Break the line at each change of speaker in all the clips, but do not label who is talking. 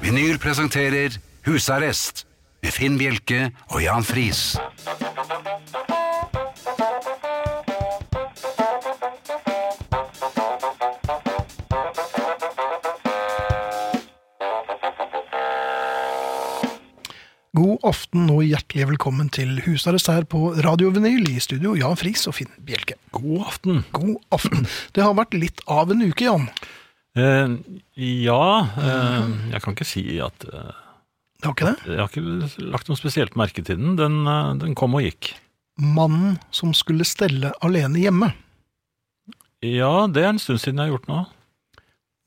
Vinyl presenterer Husarrest med Finn Bjelke og Jan Friis.
God aften og hjertelig velkommen til husarrest her på Radio Vinyl i studio, Jan Friis og Finn Bjelke.
God aften.
God aften. Det har vært litt av en uke, Jan.
Eh, ja, eh, jeg kan ikke si at eh,
Det var ikke det?
Jeg har ikke lagt noe spesielt merke til den. Den, eh, den kom og gikk.
Mannen som skulle stelle alene hjemme,
Ja, det er en stund siden jeg har gjort nå.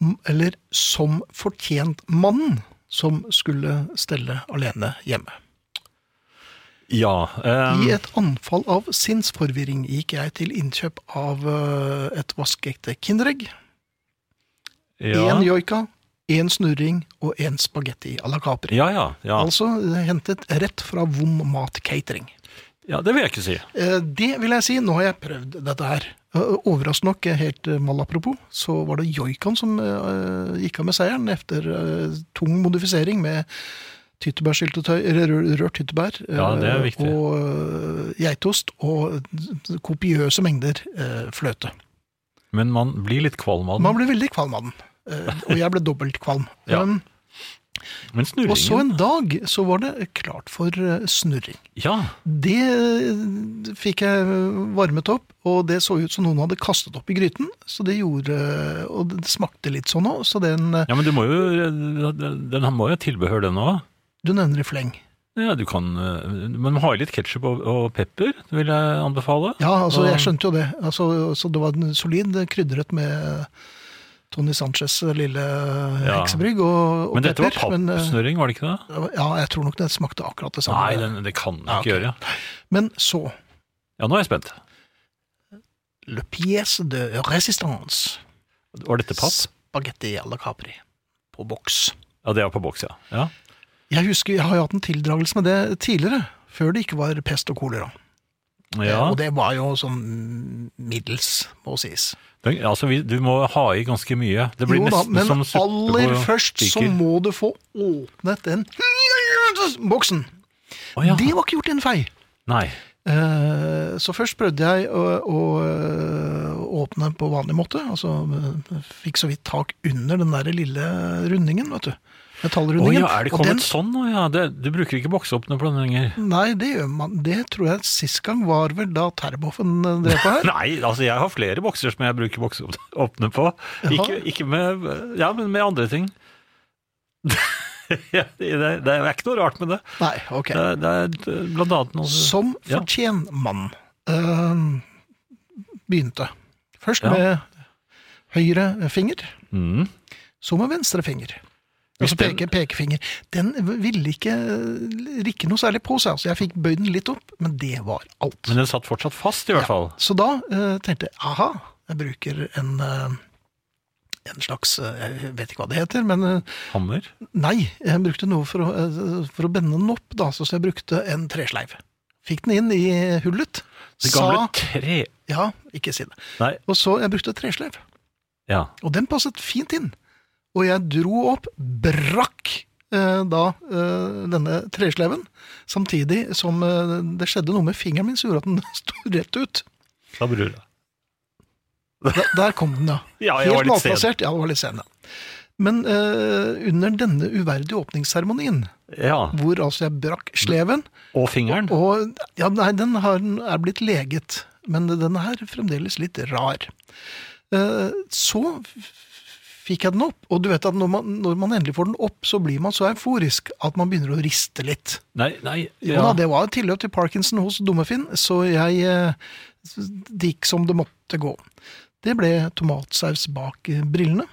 m- eller som fortjent mannen som skulle stelle alene hjemme.
Ja. Eh,
I et anfall av sinnsforvirring gikk jeg til innkjøp av øh, et vaskeekte Kinderegg.
ja.
Én joika, én snurring og én spagetti à la Capri.
Ja, ja, ja.
Altså øh, hentet rett fra Vom Mat Catering.
ja. Det vil jeg ikke si.
Eh, Det vil jeg si. Nå har jeg prøvd dette her. Eh, Overraskende nok, eh, helt eh, malapropos, så var det joikaen som eh, gikk av med seieren etter eh, tung modifisering med tyttebærsyltetøy, eller rø- rørt tyttebær, eh,
Ja, det er viktig.
og eh, geitost og eh, kopiøse mengder eh, fløte.
Men man blir litt kvalm av
Man
den.
ble veldig kvalm av den, eh, og jeg ble dobbelt kvalm.
Ja.
Men-
Men
og så en
snurringen
dag så var det klart for eh, snurring.
Ja.
Det eh, fikk jeg varmet opp, og det så ut som noen hadde kastet opp i gryten. Så det gjorde Og det smakte litt sånn òg, så den
ja, men du må jo Den må jo ha tilbehør, den òg.
Du nevner i fleng.
Ja, du kan eh, Men ha i litt ketsjup og, og pepper, det vil jeg anbefale.
Ja, altså, jeg
Og-
skjønte jo det. Altså, så det var en solid krydret med Tony Sanchez' lille
Ja.
heksebrygg og, og
Men dette var
pepper, men, eh,
pappsnurring, var det ikke det?
Ja, jeg tror nok det smakte akkurat det samme.
Nei, den, det kan jeg ikke
Ja, ok.
gjøre.
Men så
Ja, nå er jeg spent.
Le pièce de résistance.
Var dette papp?
Spagetti à la Capri. På boks.
Ja, det er på boks, ja. ja.
Jeg husker, jeg har jo hatt en tildragelse med det tidligere, før det ikke var pest og kolera.
ja.
Eh, Og det var jo sånn middels, må sies.
Den, altså, vi, du må ha i ganske mye. Det blir
Jo da,
nesten
men
som suppe
aller
på
først så
spiker.
må du få åpnet den boksen.
Å, ja.
Det var ikke gjort i en fei.
Nei.
Eh, Så først prøvde jeg å, å eh, åpne på vanlig måte. Altså eh, fikk så vidt tak under den der lille rundingen, vet du.
Å
Metallrundingen.
ja, er det
Og
kommet
den-
sånn nå? Ja, det, du bruker ikke bokseåpner på den lenger.
Nei, det gjør man. Det tror jeg sist gang var vel da Terboven eh, drev på her.
Nei, altså jeg har flere bokser som jeg bruker bokseåpner på.
Jaha.
Ikke, ikke med Ja, men med andre ting. Ja, det, det, det er ikke noe rart med det.
Nei, ok.
Det, det er blant annet noe
Som
Eh, Ja.
fortjent mann eh, begynte. Først
Ja.
med høyre finger,
mm.
så med venstre finger.
Hvis
Altså
den-
peke, pekefinger. Den ville ikke eh, rikke noe særlig på seg. Altså, jeg fikk bøyd den litt opp, men det var alt.
Men den satt fortsatt fast, i hvert fall.
Så da eh, tenkte jeg aha, jeg bruker en, eh, en slags eh, Jeg vet ikke hva det heter, men eh,
Hammer.
Nei, jeg brukte noe for å, eh, for å bende den opp, da, så jeg brukte en tresleiv. Fikk den inn i hullet.
Det gamle
Sa
tre...
Ja, ikke si det.
Nei,
Og så jeg brukte tresleiv,
ja.
og den passet fint inn. Og jeg dro opp, brakk eh, da eh, denne tresleiven, samtidig som eh, det skjedde noe med fingeren min som gjorde at den sto rett ut.
Da bror jeg.
Der, der kom den, ja.
Ja, jeg var
Helt
litt sen.
malplassert. Ja, det var litt sen, ja. Men eh, under denne uverdige åpningsseremonien,
Ja.
hvor altså jeg brakk sleven,
Og fingeren.
Og, ja, nei, den har, er blitt leget, men den er fremdeles litt rar. Eh, Så f- fikk jeg den opp, og du vet at når man, når man endelig får den opp, så blir man så euforisk at man begynner å riste litt.
Nei, nei
Jo da, det var et tilløp til Parkinson hos Dummefinn, så jeg eh, det gikk som det måtte gå. Det ble tomatsaus bak eh, brillene.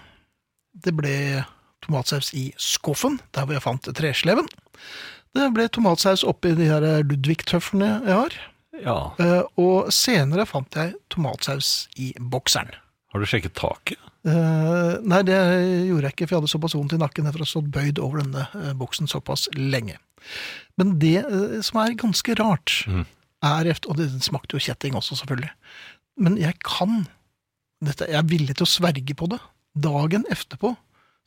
Det ble tomatsaus i skuffen, der hvor jeg fant tresleven. Det ble tomatsaus oppi de her Ludvig-tøflene jeg har.
Ja.
Eh, Og senere fant jeg tomatsaus i bokseren.
Har du sjekket taket?
Eh, nei, det gjorde jeg ikke, for jeg hadde såpass vondt i nakken etter å ha stått bøyd over denne eh, boksen såpass lenge. Men det eh, som er ganske rart, er efter, Og det smakte jo kjetting også, selvfølgelig. Men jeg kan dette. Jeg er villig til å sverge på det. Dagen etterpå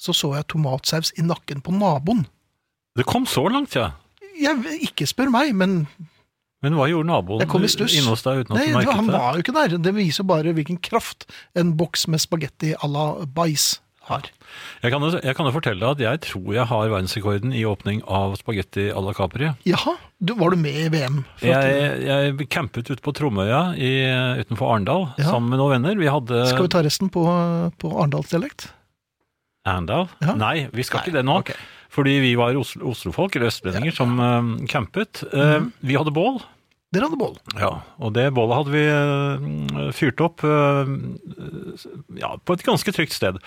så så jeg tomatsaus i nakken på naboen.
Det kom så langt, ja.
Jeg, ikke spør meg, men
Men hva gjorde naboen
Jeg kom i stuss.
inne hos deg uten at
Nei,
du
det var-
merket
han
det?
var jo ikke der. Det viser bare hvilken kraft en boks med spagetti à la bais har.
Jeg kan, jo- jeg kan jo fortelle deg at jeg tror jeg har verdensrekorden i åpning av spagetti à la Capri.
Jaha, du, var du med i VM? For at-
Jeg, jeg campet ute på Tromøya i, utenfor Arendal
Ja.
sammen med noen venner. Vi hadde
Skal vi ta resten på, på Arendalsdialekt?
Arendal?
Ja.
Nei, vi skal
Nei,
ikke det nå.
ok.
Fordi vi var Oslo, Oslofolk, eller østlendinger, som eh, campet. Eh,
Mhm.
Vi hadde bål,
Dere hadde bål.
ja, og det bålet hadde vi eh, fyrt opp eh, ja, på et ganske trygt sted.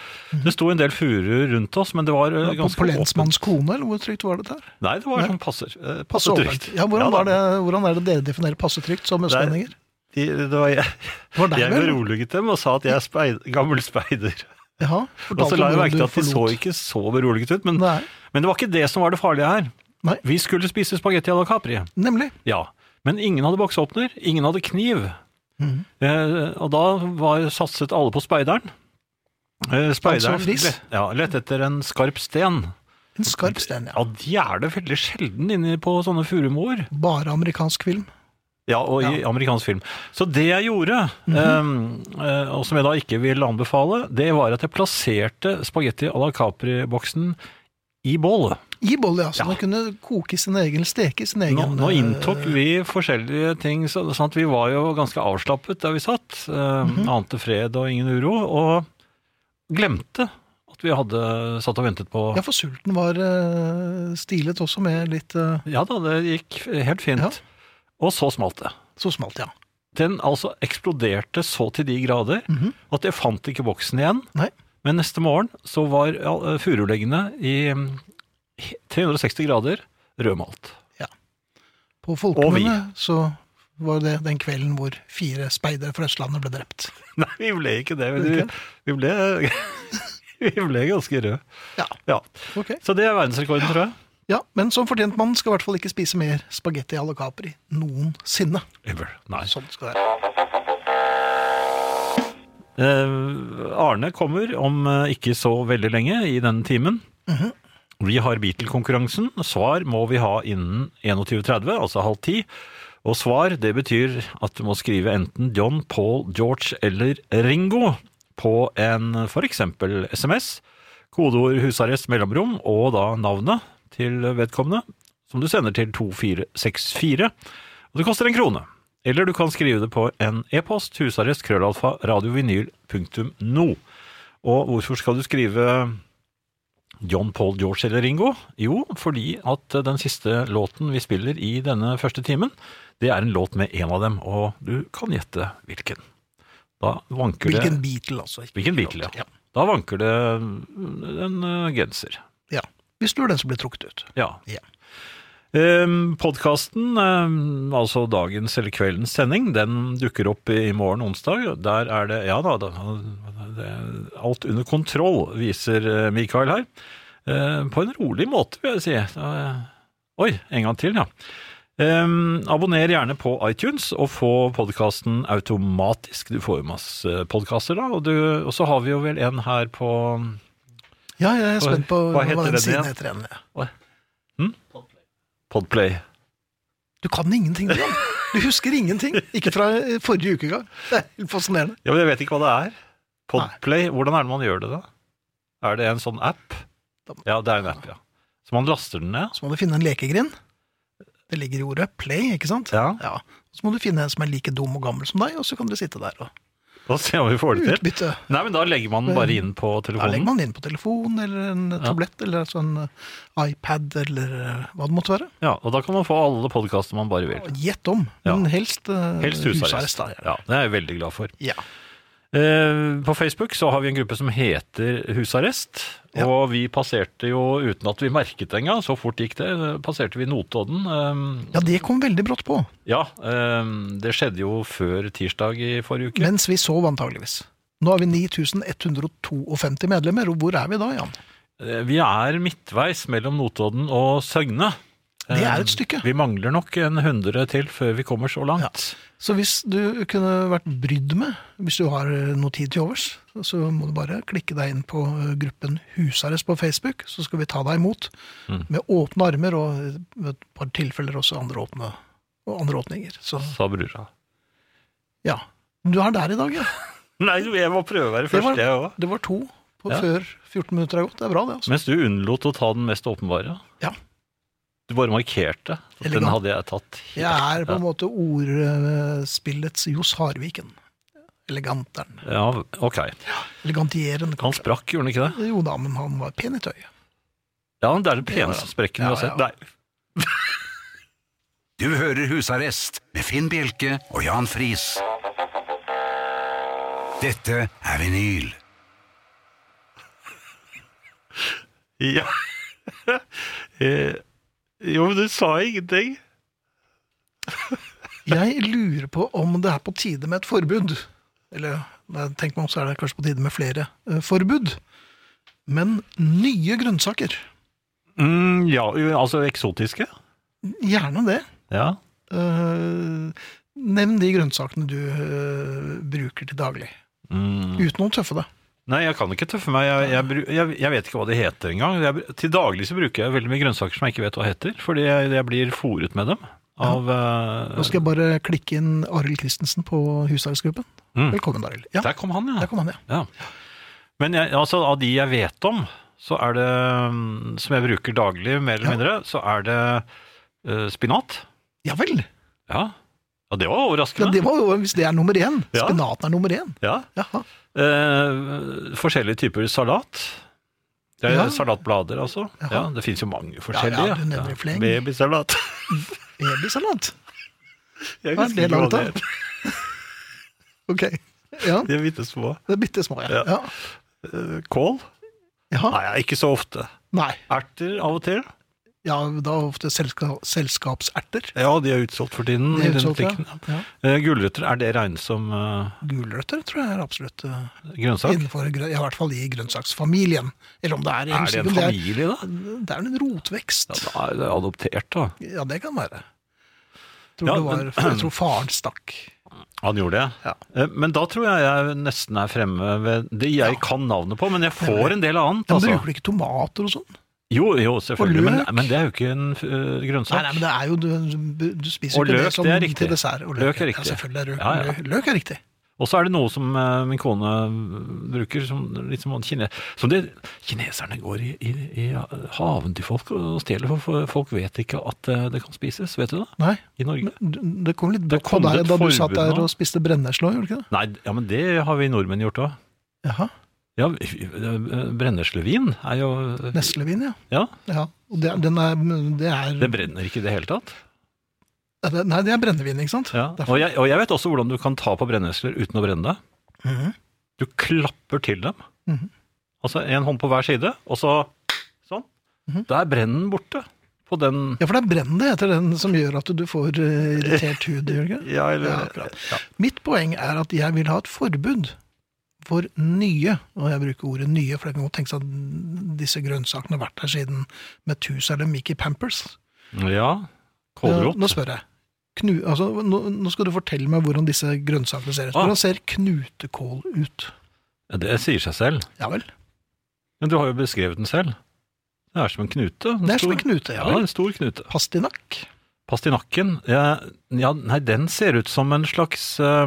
Det sto en del furuer rundt oss, men det var eh,
Mhm. På,
ganske
på
åpent.
lensmanns kone, eller hvor trygt var det der?
Nei, det var
Nei.
sånn passer, eh,
Passe
passe
åpent.
trygt.
Ja, hvordan,
da.
var det, hvordan er det dere definerer passe trygt som østlendinger?
De, det var jeg,
Det var deg,
jeg
vel?
beroliget dem og sa at jeg er speid, gammel speider.
Jaha,
Og så la jeg
hvordan
merke
du
til at de så
forlot.
ikke så beroliget ut, men,
Nei,
men det var ikke det som var det farlige her.
Nei.
Vi skulle spise spagetti à la Capri,
nemlig.
ja. Men ingen hadde boksåpner, ingen hadde kniv.
Mhm.
Eh, og da var, satset alle på speideren. Eh, speideren
Altså fris?
lett, ja, lett etter en skarp sten.
En skarp stein, ja.
Ja, de er det veldig sjelden inne på sånne furumoer.
Bare amerikansk film.
Ja, og i amerikansk film. Så det jeg gjorde, eh, eh, og som jeg da ikke vil anbefale, det var at jeg plasserte spagetti à la Capri-boksen i bålet.
I boll, ja. Så
Ja.
den kunne koke i sin egen, steke i sin
Nå,
egen
nå
eh,
inntok vi forskjellige ting, så, sånn at vi var jo ganske avslappet der vi satt. Eh, Ante fred og ingen uro, og glemte at vi hadde satt og ventet på
Ja, for sulten var eh, stilet også med litt eh,
Ja da, det gikk helt fint.
Ja.
Og så smalt det.
Så smalt, ja.
Den altså eksploderte så til de grader at jeg fant ikke boksen igjen.
Nei.
Men neste morgen så var ja, furuleggene i mm, 360 grader rødmalt.
På
Og vi.
Folkemunne så var det den kvelden hvor fire speidere fra Østlandet ble drept.
Nei, vi ble ikke det. men Vi, vi, ble, vi ble ganske røde.
Ja.
Ja.
Ok.
Så det er verdensrekorden, tror jeg.
Ja, Men som fortjent mann skal i hvert fall ikke spise mer spagetti à la Capri noensinne.
Ever. Nei.
Sånn skal det være.
Eh, Arne kommer om eh, ikke så veldig lenge i denne timen.
Mhm.
Vi har Beatle-konkurransen. Svar må vi ha innen 21.30, altså halv ti. Og svar, det betyr at du må skrive enten John, Paul, George eller Ringo på en f.eks. SMS. Kodeord 'husarrest', mellomrom og da navnet til vedkommende, som du sender til 2464. Og det koster en krone. Eller du kan skrive det på en e-post, husarrest, krøllalfa, radiovinyl.no. Og hvorfor skal du skrive John Paul George eller Ringo? Jo, fordi at den siste låten vi spiller i denne første timen, det er en låt med en av dem, og du kan gjette hvilken. Da vanker
Hvilken
det
Beatle, altså. ikke
Hvilken Beatle, ja. Da vanker det en eh, genser.
ja. Hvis du er den som blir trukket ut.
Ja.
Ja.
Ehm, Podkasten, ehm, altså dagens eller kveldens sending, den dukker opp i morgen onsdag. Der er det Ja da, da det, alt under kontroll, viser eh, Mikael her. Ehm, på en rolig måte, vil jeg si. Da- oi, en gang til, ja. Ehm, abonner gjerne på iTunes og få podkasten automatisk. Du får jo masse podkaster da, og, du, og så har vi jo vel en her på
Ja, jeg er
Hva-
spent på
hva heter den
den siden
igjen?
heter igjen. ja.
Podplay.
Du kan ingenting, du. Jan. Du husker ingenting. Ikke fra eh, forrige uke engang. Det er helt fascinerende.
Ja, men jeg vet ikke hva det er. Podplay, hvordan er det man gjør det da? Er det en sånn app? Ja, det er en app, ja. Så man laster den ned?
Så må du finne en lekegrind. Det ligger i ordet play, ikke sant?
Ja.
ja. Så må du finne en som er like dum og gammel som deg, og så kan dere sitte der og
Og se om vi får det til.
utbytte
Nei, men da legger man den bare inn på
Da legger
telefonen.
man det inn på telefon eller en tablett eller altså en eh, iPad eller eh, hva det måtte være.
Ja, og da kan man få alle podkaster man bare vil.
Gjett om, men
Ja.
helst, eh,
Helst husarrest.
da,
Ja, det er jeg veldig glad for.
Ja.
Eh, Eh, På Facebook så har vi en gruppe som heter Husarrest.
Ja.
Og vi passerte jo, uten at vi merket det engang, så fort gikk det, passerte vi Notodden. Eh,
Ja, det kom veldig brått på,
Ja, eh, det skjedde jo før tirsdag i forrige uke.
mens vi sov antageligvis. Nå har vi 9152 medlemmer, og hvor er vi da, Jan?
Eh, Vi er midtveis mellom Notodden og Søgne.
Det er
Eh,
et stykke.
Vi mangler nok en hundre til før vi kommer så langt.
Så hvis du kunne vært brydd med, hvis du har eh, noe tid til overs, så må du bare klikke deg inn på eh, gruppen Husarrest på Facebook, så skal vi ta deg imot
Mm.
med åpne armer, og eh, ved et par tilfeller også andre, åpne, og andre åpninger. Så
Sa brura.
ja. Du er der i dag, ja.
Nei, jeg må prøve å være
Det
først,
var-
jeg òg.
Det var to på
Ja.
før 14 minutter er gått. Det er bra, det. altså.
Mens du unnlot å ta den mest åpenbare.
Ja.
Du bare markerte. at Den
Elegant.
hadde jeg tatt
Jeg er på en måte ordspillets Johs Harviken. Eleganteren.
Ja, ok.
Elegantieren,
Han
kanskje.
sprakk, gjorde han ikke det?
Jo da, men han var pen i tøyet.
Ja, det er den peneste sprekken
Ja,
du har sett.
ja.
Nei,
Du hører Husarrest med Finn Bjelke og Jan Friis. Dette er vinyl.
Ja. Eh, jo, men du sa ingenting.
Jeg lurer på om det er på tide med et forbud. Eller nei, tenk meg om, så er det kanskje på tide med flere eh, forbud. Men nye grønnsaker.
Mm, ja, jo, altså eksotiske.
Gjerne det.
Ja.
Eh, nevn de grønnsakene du eh, bruker til daglig.
Mm.
Uten å tøffe deg.
Nei, jeg kan ikke tøffe meg. Jeg, jeg, bru- jeg, jeg vet ikke hva de heter engang. Jeg, br- til daglig så bruker jeg veldig mye grønnsaker som jeg ikke vet hva heter, fordi jeg, jeg blir fòret med dem. Av, eh,
Nå skal jeg bare klikke inn Arild Christensen på Husdagsgruppen.
Mm.
Velkommen, Arild. Ja,
Der kom han, ja.
der kom han, ja.
Men jeg, altså, av de jeg vet om, så er det, mm, som jeg bruker daglig mer eller
Ja.
mindre, så er det eh, spinat.
Ja vel.
Ja. ja, det var
Ja,
overraskende.
det var jo, hvis det er nummer én.
Ja.
Spinaten er nummer én.
Ja.
Jaha.
Eh, forskjellige typer salat. Det er
Ja.
Salatblader, altså.
Jaha.
Ja, det fins jo mange forskjellige.
ja, du nevner fleng.
Babysalat.
Babysalat. Hva
Jeg
er
husker
det
ikke hva
laget
det
av?
heter.
Ok. Ja,
De er bitte små.
det er bitte små, ja.
Ja.
ja.
Eh, Kål?
Jaha.
Nei, ikke så ofte.
Nei.
Erter av og til.
Ja, da ofte selska selskapserter.
Ja, de er utsolgt for tiden.
Det er
i denne
utsolgt, ja.
butikken.
Ja.
Eh, Gulrøtter, er det regnet som eh,
Gulrøtter tror jeg er absolutt eh,
grønnsak?
innenfor grø- ja, i hvert fall i grønnsaksfamilien. Eller om det er,
Er det
det
en
er,
familie, da?
det er en rotvekst.
Ja, da er det adoptert, da.
Ja, det kan være. Jeg tror,
Ja,
det var,
men-
jeg tror faren stakk.
Han gjorde det?
Ja.
Eh, Men da tror jeg jeg nesten er fremme ved det jeg kan navnet på, men jeg
Nemlig.
får en del annet,
Men
altså.
bruker du ikke tomater og sånn?
Jo, jo, selvfølgelig, men,
løk.
men det er jo ikke en eh,
Nei,
grønnsak.
nei, men det er jo, du, du spiser
Og
jo ikke
løk,
det som
det er riktig.
til dessert. Og
Løk er riktig.
Ja, selvfølgelig er løk,
Ja, ja.
løk- løk er riktig.
Og så er det noe som eh, min kone bruker, som litt som han kine, som det, kineserne går i, i, i haven til folk og stjeler, for- for folk vet ikke at eh, det kan spises, vet du det,
Nei,
i Norge.
men du- det kom litt
Det
brått på
kom
deg
et
da du
forbud
satt der
nå.
og spiste brenneslå, gjorde du ikke det?
Nei, ja, men det har vi nordmenn gjort òg.
Jaha,
Ja, vi- eh, brenneslevin er jo eh,
Neslevin, ja.
Ja,
ja. Og det, er- den er, det
det
er
brenner ikke i det hele tatt.
Ja, det- Nei, det er brennevin, ikke sant?
Ja.
Derfor-
Og, jeg, og jeg vet også hvordan du kan ta på brennesler uten å brenne deg.
Mhm.
Du klapper til dem.
Mhm.
Altså en hånd på hver side, og så sånn. Der brenner den borte. På den
Mhm. Ja, for det er brenn det heter den som gjør at du får eh, irritert hud, gjør det ikke?
Ja, eller
Ja,
ja,
akkurat. Mitt poeng er at jeg vil ha et forbud for nye, og jeg bruker ordet nye, for det kan godt tenkes at disse grønnsakene har vært der siden Metusa eller Mickey Pampers.
Kålrot.
Eh, Nå spør jeg. Knu, altså, nå, nå skal du fortelle meg hvordan disse grønnsakene ser ut.
Ah.
Hvordan ser knutekål ut?
Ja, det sier seg selv.
Ja vel.
Men du har jo beskrevet den selv. Det er som en knute. En
Det er som
stor-
en knute, ja
Ja,
vel.
en stor knute.
Pastinakk.
Pastinakken, ja, ja, nei, den ser ut som en slags eh,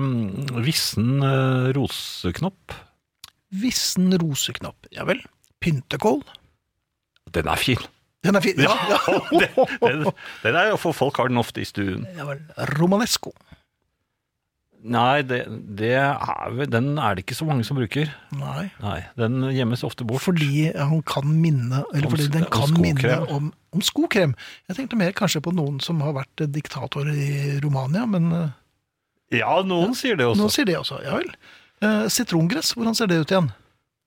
vissen eh, roseknopp.
Vissen roseknopp. Ja vel. Pyntekål.
Den er fin!
Den er fin. Ja, ja.
Den, den er jo for folk har den ofte i stuen.
ja vel. Romanesco.
Nei, det, det er, vel- den er det ikke så mange som bruker.
Nei.
Nei, Den gjemmes ofte bort.
Fordi han kan minne Eller
Om
fordi
s-
den
om
kan
skokrem.
minne om, om skokrem. Jeg tenkte mer kanskje på noen som har vært eh, diktatorer i Romania, men eh,
Ja, noen sier det også.
Noen sier det også, ja vel. Eh, sitrongress, hvordan ser det ut igjen?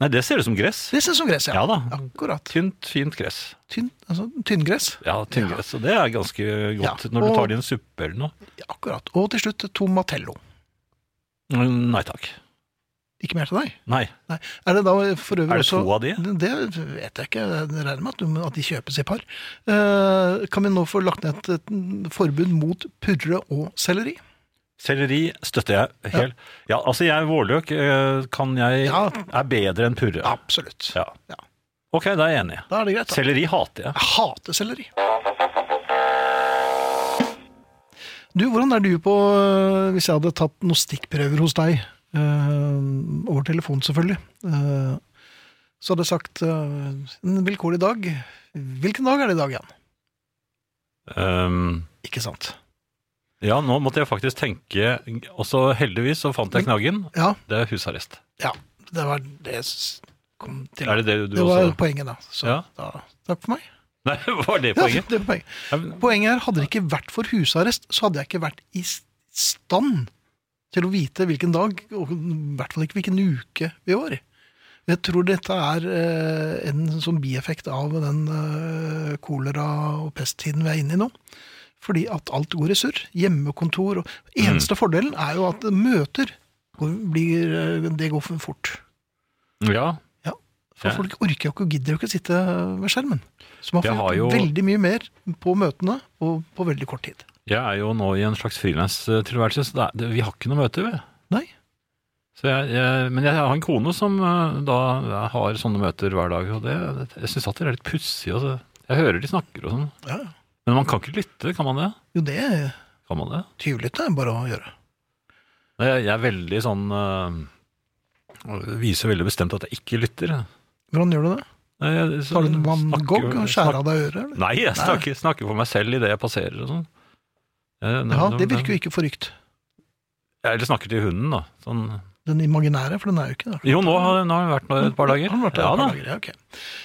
Nei, det ser ut som gress.
Det ser ut som gress, ja.
Ja da.
Akkurat.
Tynt, fint gress.
Tynn, altså, tynngress.
Ja, tynngress. Og det er ganske godt
Ja,
når du
og-
tar det i en suppe eller noe.
Ja, akkurat. Og til slutt tomatello.
Mm, Nei takk.
Ikke mer til deg?
Nei.
Nei. Er det da for øvrig
Er det
også
to av de?
Det vet jeg ikke. Jeg regner med at, du, at de kjøpes i par. Eh, kan vi nå få lagt ned et, et forbud mot purre og selleri?
Selleri støtter jeg helt. Ja, altså jeg vårløk eh, kan jeg
Ja.
er bedre enn purre.
Absolutt.
Ja.
Ja.
Ok, da er jeg enig.
Da er det greit. Da.
Selleri hater jeg.
Jeg hater selleri. Du, hvordan er du på øh, Hvis jeg hadde tatt noen stikkprøver hos deg, øh, over telefon selvfølgelig, øh, så hadde jeg sagt øh, en vilkårlig dag. Hvilken dag er det i dag igjen?
Ehm,
Ikke sant?
ja, nå måtte jeg faktisk tenke, og så heldigvis så fant jeg knaggen.
Ja,
Det er husarrest.
ja. Det var det jeg s- kom til.
Er det det du
det var
også
poenget, da. Så
Ja.
da, takk for meg.
Nei, var det
Ja,
poenget?
det var poenget.
Ja, men-
Poenget her, hadde det ikke vært for husarrest, så hadde jeg ikke vært i s- stand til å vite hvilken dag, og i hvert fall ikke hvilken uke vi var. i. Jeg tror dette er eh, en sånn bieffekt av den eh, kolera- og pesttiden vi er inne i nå. Fordi at alt går i surr. Hjemmekontor og
Mm.
Eneste fordelen er jo at møter går, blir, eh, Det går for fort.
Ja,
Ja, for
Ja.
folk orker jo ikke og gidder jo ikke å sitte ved skjermen. Så man
Jeg
får
har
gjort
jo-
veldig mye mer på møtene og på veldig kort tid.
jeg er jo nå i en slags frilanstilværelse, så det er, det, vi har ikke noe møte, vi.
Nei.
Så jeg, jeg, men jeg har en kone som eh, da har sånne møter hver dag, og det, jeg syns alltid det er litt pussig. Altså. Jeg hører de snakker og sånn.
Ja.
Men man kan ikke lytte, kan man det?
Jo, det er
Kan man det?
tyvlytt, det er bare å gjøre.
Nei, Jeg, jeg er veldig sånn eh, Viser veldig bestemt at jeg ikke lytter.
Hvordan gjør du det?
Nei, jeg-
Tar du en
snakker-
Van Gogh og skjærer av deg øret? Eller?
Nei, jeg snakker, snakker for meg selv idet jeg passerer og sånn. Eh,
Ja, det virker jo ikke forrykt.
Eller snakker til hunden, da. Sånn.
Den imaginære, for den er jo ikke der.
Jo, nå har, nå har jeg vært der et par dager.
Har den vært der
ja,
et par
da.
dager, ja, ok.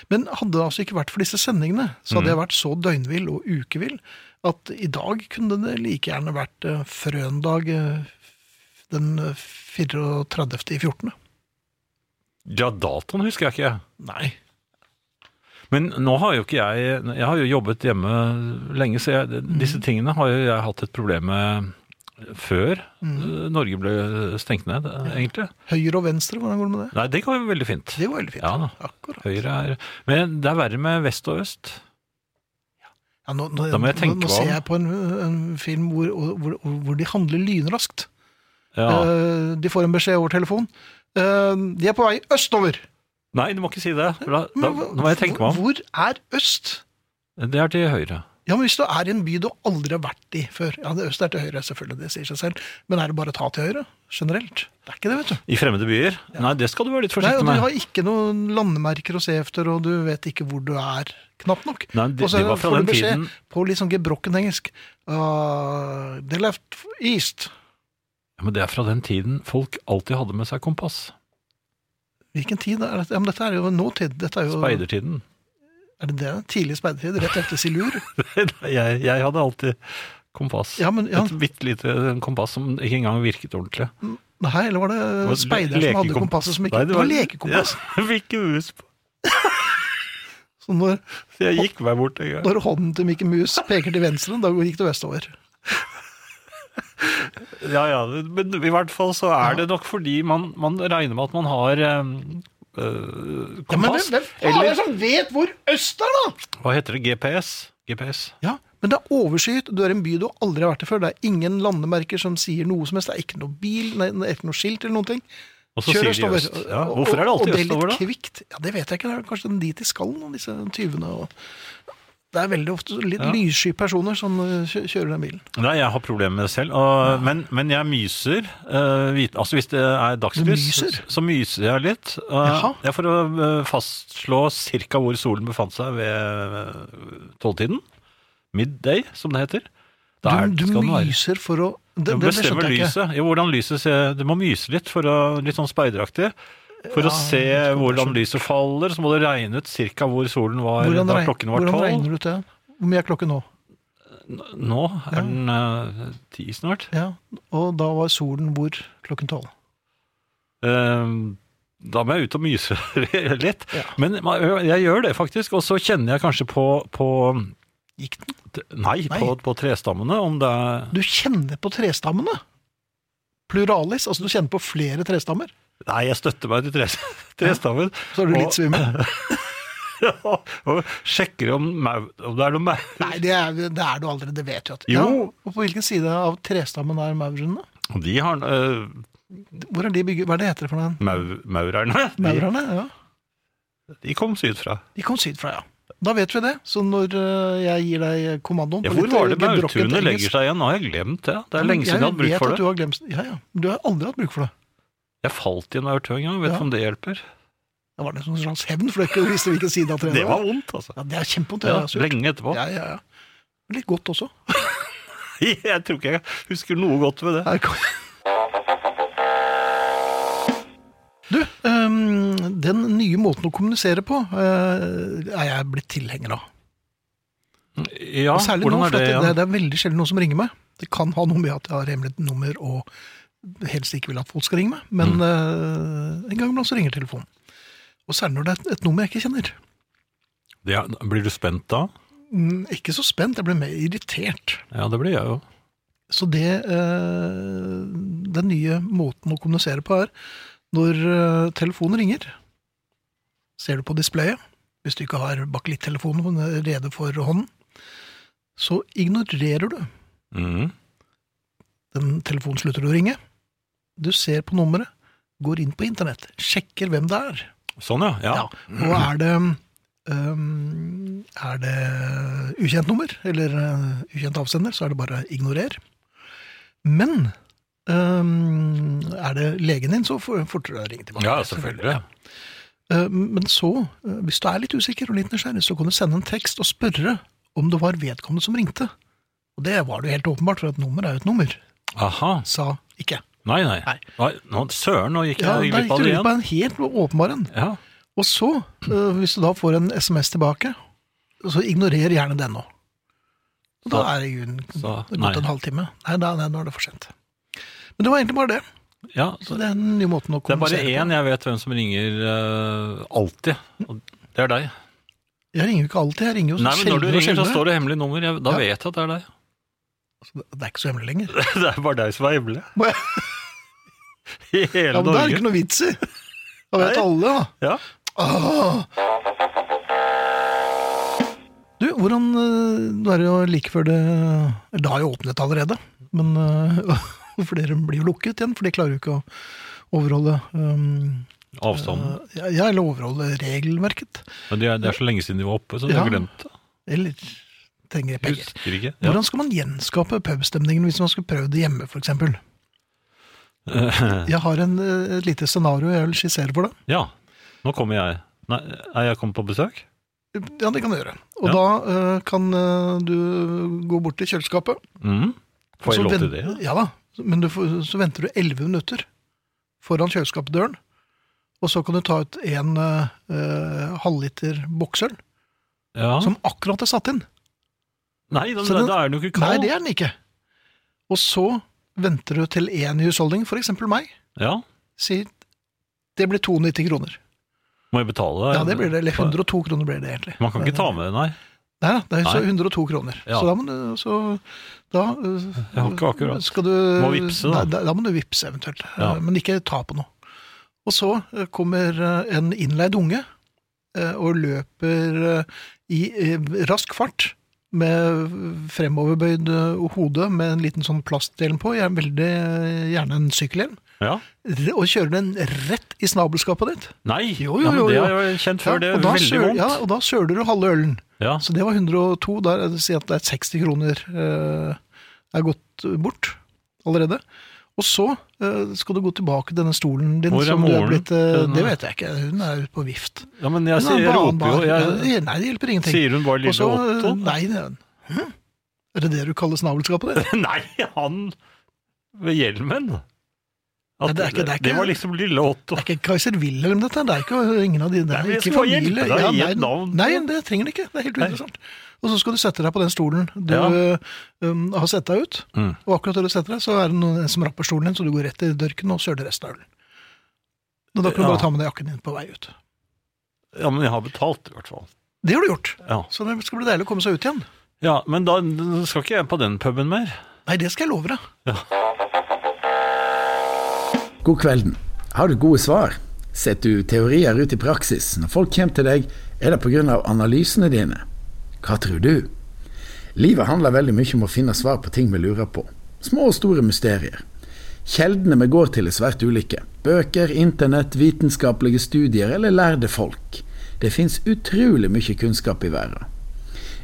Men hadde det altså ikke vært for disse sendingene, så
Mm.
hadde jeg vært så døgnvill og ukevill at i dag kunne det like gjerne vært eh, frøndag eh, den eh, 34. i 14.
Ja, datoen husker jeg ikke.
Nei.
Men nå har jo ikke jeg Jeg har jo jobbet hjemme lenge, så jeg,
Mm.
disse tingene har jo jeg hatt et problem med før
Mm.
eh, Norge ble stengt ned, eh, egentlig.
Høyre og venstre, hvordan går det med det?
Nei, det går jo veldig fint.
Det var veldig fint.
Ja da.
Akkurat.
Høyre er Men det er verre med vest og øst.
Ja, nå, nå,
Da må jeg tenke
nå, nå
meg om.
ser jeg på en, en film hvor, hvor, hvor de handler lynraskt.
Ja.
Eh, de får en beskjed over telefon. Eh, de er på vei østover.
Nei, du må ikke si det. for Da, da,
Men hva-
nå må jeg tenke meg om.
Hvor er øst?
Det er til høyre.
Ja, men Hvis du er i en by du aldri har vært i før Ja, det Øst er til høyre, selvfølgelig, det sier seg selv. Men er det bare å ta til høyre generelt? Det er ikke det, vet du.
I fremmede byer? Nei, det skal du være litt
Nei,
forsiktig
og Du
med.
har ikke noen landemerker å se efter, og du vet ikke hvor du er, knapt nok.
Nei, de-
og så
de var fra
får du
den
beskjed
tiden-
på litt sånn gebrokken engelsk uh, They left east.
Ja, men det er fra den tiden folk alltid hadde med seg kompass.
Hvilken tid er dette? Ja, men dette er jo nåtid. Dette er jo
Speidertiden.
Er det det? Tidlig speidertid, rett etter Silur.
Nei, jeg, jeg hadde alltid kompass.
Ja, men ja,
Et bitte lite kompass som ikke engang virket ordentlig.
Nei, eller var
var
det
et
speider som hadde
lekekomp-
kompasset som ikke
Nei,
Det var lekekompass.
Ja, Jeg fikk mus på.
Så når,
Så jeg gikk meg bort en gang.
når hånden til Mikke Mus peker til venstre, da gikk det vestover.
Ja, ja, men i hvert fall så er det nok fordi man, man regner med at man har eh, eh, kompass. eller
som vet hvor øst er, da?
hva heter det? GPS? GPS.
Ja, men det er overskyet. Du er i en by du aldri har vært i før. Det er ingen landemerker som sier noe som helst. Det er ikke noe bil, nei, det er ikke noe skilt eller noen ting.
Og så sier de øst. Ja, hvorfor er det alltid
Og
østover,
det er
da?
litt kvikt. Ja, det vet jeg ikke. Det er kanskje den dit i skallen, og disse tyvene. Og... Det er veldig ofte litt
Ja.
lyssky personer som eh, kjø- kjører den bilen.
Nei, jeg har problemer med det selv. Og, men, men jeg myser. eh, vit, altså Hvis det er dagslys,
Du myser?
så myser jeg litt. eh,
Jaha.
det er for å eh, fastslå ca. hvor solen befant seg ved eh, tolvtiden. Midday, som det heter.
Du,
Der
du
skal den være.
myser for å Det,
Du
det, det skjønte
bestemmer
jeg ikke.
lyset. Jo, hvordan lyset ser Du må myse litt, for å, litt sånn speideraktig. For å se hvordan lyset faller, så må du regne ut ca. hvor solen var
Hvordan,
da
reg-
klokken var
hvordan
tolv.
regner du ut det? Hvor mye er klokken nå?
Nå er den eh, ti snart.
Ja, Og da var solen hvor klokken tolv?
Eh, da må jeg ut og myse litt. Men man- jeg gjør det faktisk, og så kjenner jeg kanskje på, på
Gikk den?
Nei,
Nei.
På, på trestammene, om det er
Du kjenner på trestammene. Pluralis. Altså, du kjenner på flere trestammer.
Nei, jeg støtter meg til tres- trestammen.
Så er du litt svimmel.
Og, og sjekker om, mau- om det er noe maur.
Nei, det er, det er du aldri. Det vet du at
Jo.
Ja, og på hvilken side av trestammen er maurene?
De har eh,
Hvor er de bygget? Hva er det heter for den?
mau- Maurerne. De,
Maurerne? Ja.
de kom sydfra.
De kom sydfra, ja. Da vet vi det. Så når eh, jeg gir deg kommandoen
Ja,
på
hvor
litt,
var
eh,
det
gebrokkent
maurtunet
engelsk-
legger seg igjen? Nå har jeg glemt det. Det er lenge siden jeg hadde bruk
vet
for
at Du
det.
har, glemt, ja, ja. du har aldri hatt bruk for det.
Jeg falt i en maurtue en gang, vet
Ja.
du om det hjelper?
Det var det som en sånn slags hevn, for du ikke visste hvilken side av treet
Det var vondt, altså.
Ja, det er kjempevondt.
Ja,
Ja, surt.
lenge etterpå.
ja, ja, ja. Litt godt også.
Jeg tror ikke jeg husker noe godt ved det.
Her kom- Du, øhm, den nye måten å kommunisere på øh, er jeg blitt tilhenger av.
Ja,
Og Særlig nå,
hvordan er
for
det
at det,
igjen?
det er veldig sjelden noen som ringer meg. Det kan ha noe med at jeg har hemmelig nummer og helst ikke vil at folk skal ringe meg, men
Mm.
øh, en gang iblant så ringer telefonen. Og særlig når det er et nummer jeg ikke kjenner.
Ja, blir du spent da?
Mm, Ikke så spent, jeg ble mer irritert.
Ja, det blir jeg jo.
Så det eh, Den nye måten å kommunisere på er når eh, telefonen ringer, ser du på displayet, hvis du ikke har bakelittelefonen rede for hånden, så ignorerer du.
Mhm.
Den telefonen slutter å ringe. Du ser på nummeret, går inn på internett, sjekker hvem det er.
Sånn, ja. ja.
Ja. Og er det um, Er det ukjent nummer, eller uh, ukjent avsender, så er det bare ignorer. Men um, er det legen din, så får- fortere å ringe tilbake.
Ja, selvfølgelig.
Uh, men så, uh, hvis du er litt usikker og litt nysgjerrig, så kan du sende en tekst og spørre om det var vedkommende som ringte. Og det var det jo helt åpenbart, for et nummer er jo et nummer,
Aha.
sa ikke.
Nei, nei.
Nei.
Nei, nå, søren, nå gikk
Ja,
jeg
Da
glipp
gikk
av
du
det
ut på
igjen.
en helt åpenbar en.
Ja.
Og så, øh, hvis du da får en SMS tilbake, så ignorer gjerne den nå. Og da
Så-
er det jo en-
så-
det er
nei.
gått en halvtime. Nei, nei, nei, nå er det for sent. Men det var egentlig bare det.
ja.
Så det er den nye måten å
Det er bare
kommunisere
én
på.
jeg vet hvem som ringer eh, alltid. og Det er deg.
Jeg ringer jo ikke alltid, jeg ringer jo
Nei, men når du ringer, så står det hemmelig nummer. Jeg, da
Ja.
vet jeg at det er deg.
Det er ikke så hemmelig lenger.
Det er bare deg som er hemmelig.
Må jeg-
I
Ja, men
hele
det er det ikke
Norge.
noe vits i. Da vet
Nei.
alle, da.
Ja.
Åh. Du, hvordan øh, Nå er det jo like før det eller Det har jo åpnet allerede, men øh, flere blir jo lukket igjen, for de klarer jo ikke å overholde øhm,
Avstanden.
øh, ja, ja, eller overholde regelverket.
Men det er, det er så lenge siden de var oppe, så de har
Ja.
glemt det.
Eller trenger penger.
Husker ikke. Ja.
Hvordan skal man gjenskape pubstemningen hvis man skulle prøvd det hjemme, f.eks.? Jeg har en, øh, et lite scenario jeg vil skissere for deg.
ja. Nå kommer jeg. Nei, er jeg kommet på besøk?
Ja, det kan du gjøre. Og
Ja.
da eh, kan eh, du gå bort til kjøleskapet.
Mhm.
og
Får
så
jeg lov til det?
vent- Ja da. Men du får, så venter du elleve minutter foran kjøleskapsdøren. Og så kan du ta ut en eh, eh, halvliter boksøl,
Ja.
som akkurat er satt inn.
Nei, da,
Så
da,
den-
da er den jo ikke
Nei,
kald.
det er den ikke. Og så venter du til én i husholdning, for eksempel meg,
Ja.
sier det blir 92 kroner.
Må jeg betale?
Ja, det blir det. Eller 102 kroner blir det egentlig.
Man kan ikke ta med det, nei.
Nei, da, det er så
Nei.
102 kroner.
Ja.
Så da må du så, da, øh,
Jeg har ikke akkurat.
Skal du
Må vippse, da.
Da, da må du vippse eventuelt.
Ja.
Eh, Men ikke ta på noe. Og så eh, kommer eh, en innleid unge eh, og løper eh, i eh, rask fart med fremoverbøyd eh, hode med en liten sånn plastdelen på, gjerne, veldig eh, gjerne en sykkelhjelm,
Ja.
r- og kjører den rett i snabelskapet ditt.
Nei,
Jo, jo,
nei, men
jo,
det
jo.
har jeg kjent før. Det
og
er
da
veldig
søl-
vondt.
Ja, og da søler du halve ølen.
Ja.
Så Altså, det var 102. Der er det- si at det er 60 kroner eh, er gått bort allerede. Og så eh, skal du gå tilbake til denne stolen din.
Hvor er
som du
moren
blitt, eh,
til denne?
Det vet jeg ikke. Hun er ute på vift.
ja, men jeg,
Hun
sier,
er
jeg roper jo
banbar.
jeg,
Ja, Nei, det hjelper ingenting.
Sier hun bare
Og
lille
så,
Otto?
eh, Nei, det er- hm? Er det det du kaller snabelskapet? Det?
Nei, han ved hjelmen!
Nei, det er ikke- det er ikke-
var liksom lille Otto.
det er ikke Kaiser Wilhelm, dette. her. Det er ikke ingen av de der.
Nei, men jeg
ikke
skal få hjelpe
familie.
deg i
nei,
et navn.
nei, det trenger det ikke. Det er helt
Nei.
uinteressant. Og så skal du sette deg på den stolen du
Ja.
um, har sett deg ut.
Mm.
Og akkurat der du setter deg, så er det noen som rapper stolen din, så du går rett i dørken og søler resten av ølen. Men da kan du
Ja.
bare ta med deg jakken din på vei ut.
Ja, men jeg har betalt, i hvert fall.
Det har du gjort.
Ja.
Så det skal bli deilig å komme seg ut igjen.
ja, men da skal ikke jeg på den puben mer.
Nei, det skal jeg love deg.
God kvelden. Har du gode svar? Setter du teorier ut i praksis? Når folk kommer til deg, er det pga. analysene dine. Hva tror du? Livet handler veldig mye om å finne svar på ting vi lurer på. Små og store mysterier. Kjeldene vi går til er svært ulike. Bøker, internett, vitenskapelige studier eller lærde folk. Det fins utrolig mye kunnskap i verden.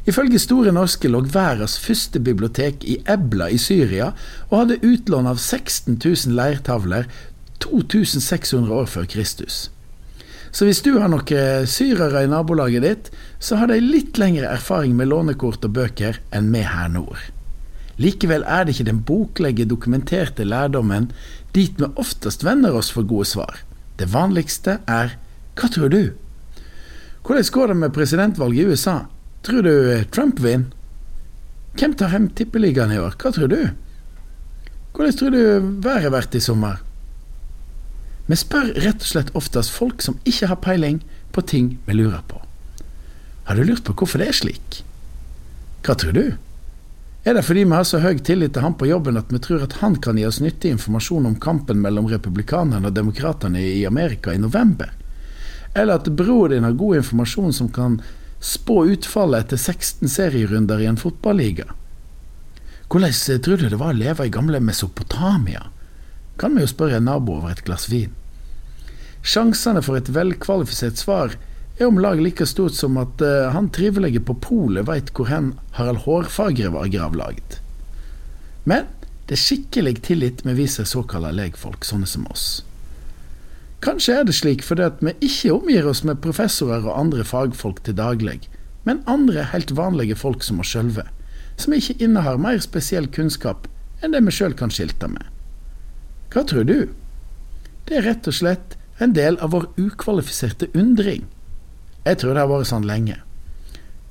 Ifølge Store norske lå verdens første bibliotek i Ebla i Syria, og hadde utlån av 16 000 leirtavler 2600 år før Kristus. Så hvis du har noen syrere i nabolaget ditt, så har de litt lengre erfaring med lånekort og bøker enn vi her nord. Likevel er det ikke den boklige, dokumenterte lærdommen dit vi oftest vender oss for gode svar. Det vanligste er hva tror du? Hvordan går det med presidentvalget i USA? Tror du Trump vinner? Hvem tar hjem tippeligaen i år? Hva tror du? Hvordan tror du været blir i sommer? Vi spør rett og slett oftest folk som ikke har peiling på ting vi lurer på. Har du lurt på hvorfor det er slik? Hva tror du? Er det fordi vi har så høy tillit til han på jobben at vi tror at han kan gi oss nyttig informasjon om kampen mellom republikanerne og demokratene i Amerika i november? Eller at bror din har god informasjon som kan spå utfallet etter 16 serierunder i en fotballiga. Hvordan eh, tror du det var å leve i gamle Mesopotamia? Kan vi jo spørre en nabo over et glass vin. Sjansene for et velkvalifisert svar er om lag like stort som at eh, han trivelige på polet veit hvor hen Harald Hårfagre var gravlagd. Men det er skikkelig tillit vi viser såkalla legfolk, sånne som oss. Kanskje er det slik fordi at vi ikke omgir oss med professorer og andre fagfolk til daglig, men andre helt vanlige folk som oss sjølve, som ikke innehar mer spesiell kunnskap enn det vi sjøl kan skilte med. Hva tror du? Det er rett og slett en del av vår ukvalifiserte undring. Jeg tror det har vært sånn lenge.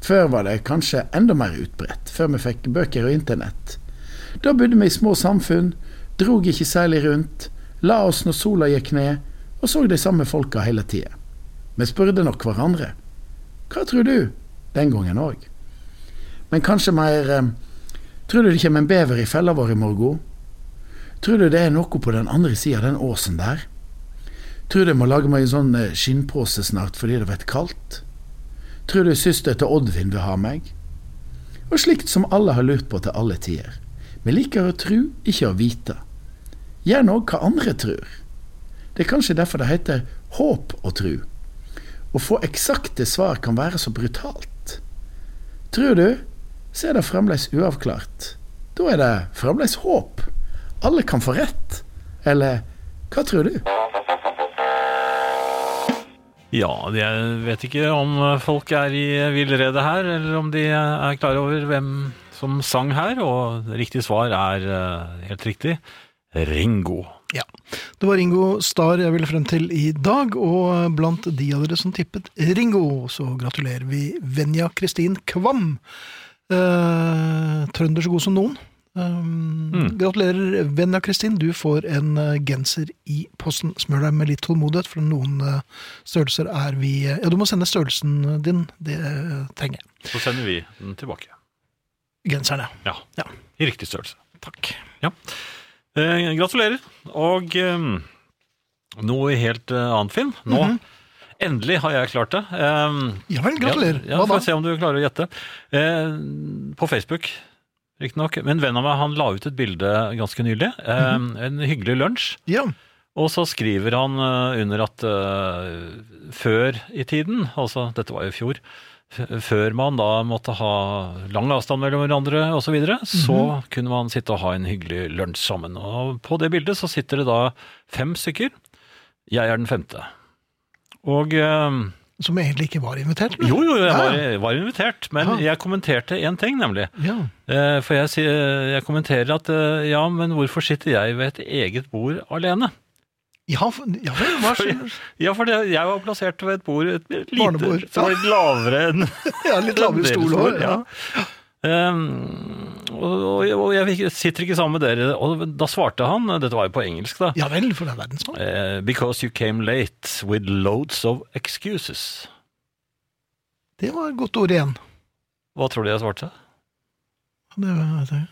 Før var det kanskje enda mer utbredt, før vi fikk bøker og internett. Da bodde vi i små samfunn, drog ikke særlig rundt, la oss når sola gikk ned, og så de samme folka hele tida. Vi spurte nok hverandre. Hva tror du? Den gangen òg. Men kanskje mer eh, Tror du det kommer en bever i fella vår i morgen? Tror du det er noe på den andre sida av den åsen der? Tror du jeg må lage meg en sånn eh, skinnpose snart fordi det blir kaldt? Tror du søster til Oddvin vil ha meg? Og slikt som alle har lurt på til alle tider. Vi liker å tru, ikke å vite. Gjerne òg hva andre tror. Det er kanskje derfor det heter håp og tru. Å få eksakte svar kan være så brutalt. Tror du, så er det fremdeles uavklart. Da er det fremdeles håp. Alle kan få rett. Eller hva tror du?
Ja, jeg vet ikke om folk er i villrede her, eller om de er klar over hvem som sang her, og riktig svar er eh, helt riktig Ringo.
Ja. Det var Ringo Starr jeg ville frem til i dag, og blant de av dere som tippet Ringo, så gratulerer vi Venja Kristin Kvam. Eh, trønder så god som noen. Um,
Mm.
Gratulerer, Venja Kristin. Du får en eh, genser i posten. Smør deg med litt tålmodighet, for noen eh, størrelser er vi eh, Ja, du må sende størrelsen din. Det eh, trenger jeg.
Så sender vi den tilbake.
Genseren, ja.
Ja,
Ja.
i riktig størrelse.
Takk.
Ja. Eh, gratulerer. Og eh, noe helt eh, annet, Finn. Nå,
Mhm.
endelig har jeg klart det. Eh,
Ja vel, gratulerer.
Ja, ja,
Hva
Får
da?
se om du klarer å gjette. Eh, på Facebook, riktignok. Men en venn av meg han la ut et bilde ganske nylig. Eh,
Mhm.
En hyggelig lunsj.
Ja.
Og så skriver han eh, under at eh, før i tiden, altså dette var jo i fjor, f- før man da måtte ha lang avstand mellom hverandre osv., så, videre,
Mhm.
så kunne man sitte og ha en hyggelig lunsj sammen. Og på det bildet så sitter det da fem stykker. Jeg er den femte. Og eh,
Som egentlig ikke var invitert? men-
jo, jo, jeg var,
Ja.
var invitert, men
Ja.
jeg kommenterte én ting, nemlig.
Ja.
Eh, For jeg, sier- jeg kommenterer at eh, ja, men hvorfor sitter jeg ved et eget bord alene?
Ja, for- ja vel, hva skjer?
Ja, for det, jeg var plassert ved et bord, et lite,
Barnebord.
som var litt lavere enn
Ja, litt lavere
enn deres
stol
bord,
også,
ja.
ja.
Ehm, og, og jeg fikk- sitter ikke sammen med dere. Og da svarte han, dette var jo på engelsk, da.
Ja vel, for det er verdensmann.
Eh, because you came late with loads of excuses.
Det var et godt ord igjen.
Hva tror du jeg svarte?
Det var, det.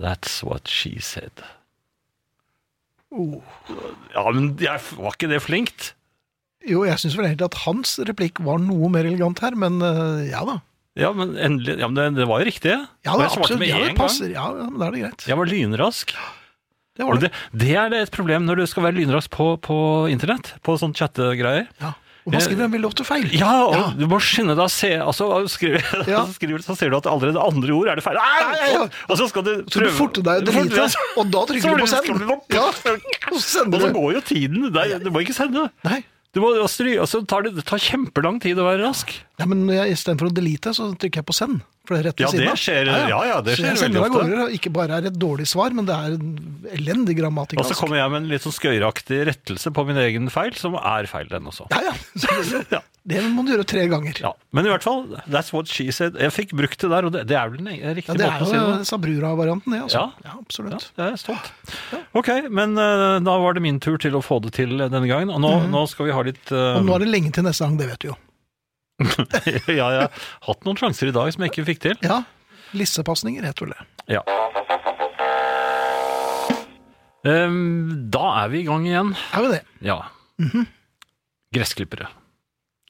That's what she said.
Oh.
Ja, men jeg, var ikke det flinkt?
Jo, jeg syns vel egentlig at hans replikk var noe mer elegant her, men eh, ja da.
Ja, men endelig ja, men det, det var jo riktig, det.
Ja,
Og
da,
jeg svarte
absolutt.
med
Ja,
en
det
gang.
passer. Ja, ja, men da er det greit.
Jeg var lynrask.
Det
Og
var det.
det, det er et problem når du skal være lynrask på, på internett, på sånn chattegreier.
Ja. Og man skriver en veldig ofte feil.
Ja, og du må skynde deg å se altså, skriver,
Ja.
så, skriver, du, så ser du at allerede andre ord er det feil. Nei,
Nei, ja.
Og, og så skal du
Så du forter deg å
Forte
drite,
deg.
og da
Så
trykker du på
blir-
send. Ja,
skal du-
og så
Og så
sender du.
går jo tiden. Nei, du må ikke sende.
Nei.
Du må, og stry- og så tar det, det tar kjempelang tid å være rask.
Ja, men når jeg, istedenfor å delete, så trykker jeg på send. For det er rett ved
Ja,
siden
det
av.
skjer- ja, ja, det
Så
skjer
jeg sender
veldig
av
ofte.
gårde, og ikke bare er det et dårlig svar, men det er en elendig
Og så
grammatikalsk.
kommer jeg med en litt sånn skøyeraktig rettelse på min egen feil, som er feil, den også.
Ja, ja. selvfølgelig.
Ja.
Det må du gjøre tre ganger.
Ja, Men i hvert fall, that's what she said. Jeg fikk brukt det der, og det, det er vel den e-
Ja,
riktige
det er
måten å si det
jo
på.
Sabrura-varianten, det. altså.
Ja.
Ja, absolutt.
Ja, jeg er stolt. Ok, men eh, da var det min tur til å få det til eh, denne gangen. Og nå, nå skal vi ha litt eh,
Mhm. Og nå er det lenge til neste gang, det vet du jo.
Ja, jeg har hatt noen sjanser i dag som jeg ikke fikk til.
Ja. Lissepasninger heter vel det.
Ja. Em, Ehm, da er vi i gang igjen.
Er vi det?
Ja. Gressklippere.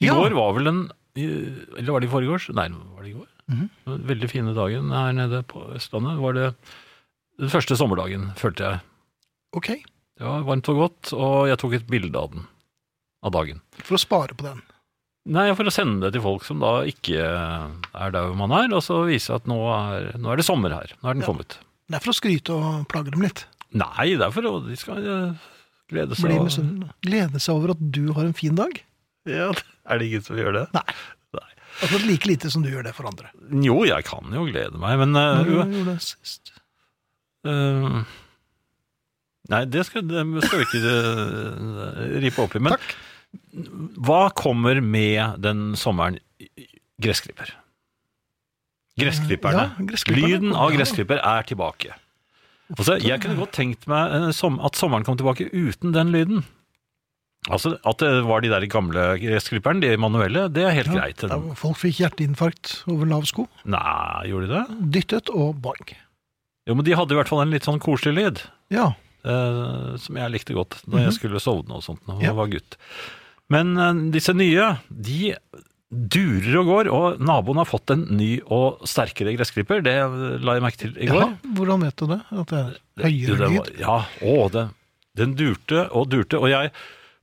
I
Mhm. Ja.
går var vel en eh, Eller var det i forgårs? Nei, var det i går?
Mhm.
Den Veldig fine dagen her nede på Østlandet. Var det den første sommerdagen, følte jeg.
Ok.
Det var varmt og godt, og jeg tok et bilde av den. Av dagen.
For å spare på den.
Nei, for å sende det til folk som da ikke er der hvor man er, og så vise at nå er, nå er det sommer her. Nå er den
Ja.
kommet.
Det er for å skryte og plage dem litt.
Nei, det er for å De skal eh, glede seg.
Bli
og-
misunnelige. Glede seg over at du har en fin dag.
Ja, er det ingen som gjør det?
Nei. Akkurat like lite som du gjør det for andre.
Jo, jeg kan jo glede meg, men eh,
Når du gjorde det sist.
eh, Nei, det skal, det skal vi ikke eh, ripe opp i. Men
Takk.
hva kommer med den sommeren? Gressklipper. Gressklipperne.
Ja, gressklipperne.
Lyden av
Ja.
gressklipper er tilbake. Altså, jeg kunne godt tenkt meg eh, som, at sommeren kom tilbake uten den lyden. Altså, At det var de der gamle gressklipperne, de manuelle, det er helt
Ja,
greit.
da Folk fikk hjerteinfarkt over lav sko.
Nei, gjorde de det?
Dyttet og bang.
Jo, men de hadde i hvert fall en litt sånn koselig lyd,
Ja.
eh, som jeg likte godt da jeg skulle sovne og sånt da
Mhm. Ja.
jeg var gutt. Men eh, disse nye, de durer og går, og naboen har fått en ny og sterkere gressklipper. Det eh, la jeg merke til i går.
ja. Hvordan vet du det? At det er
Jo,
høyere
den
lyd?
var- Ja, å, det, den durte og durte. Og jeg,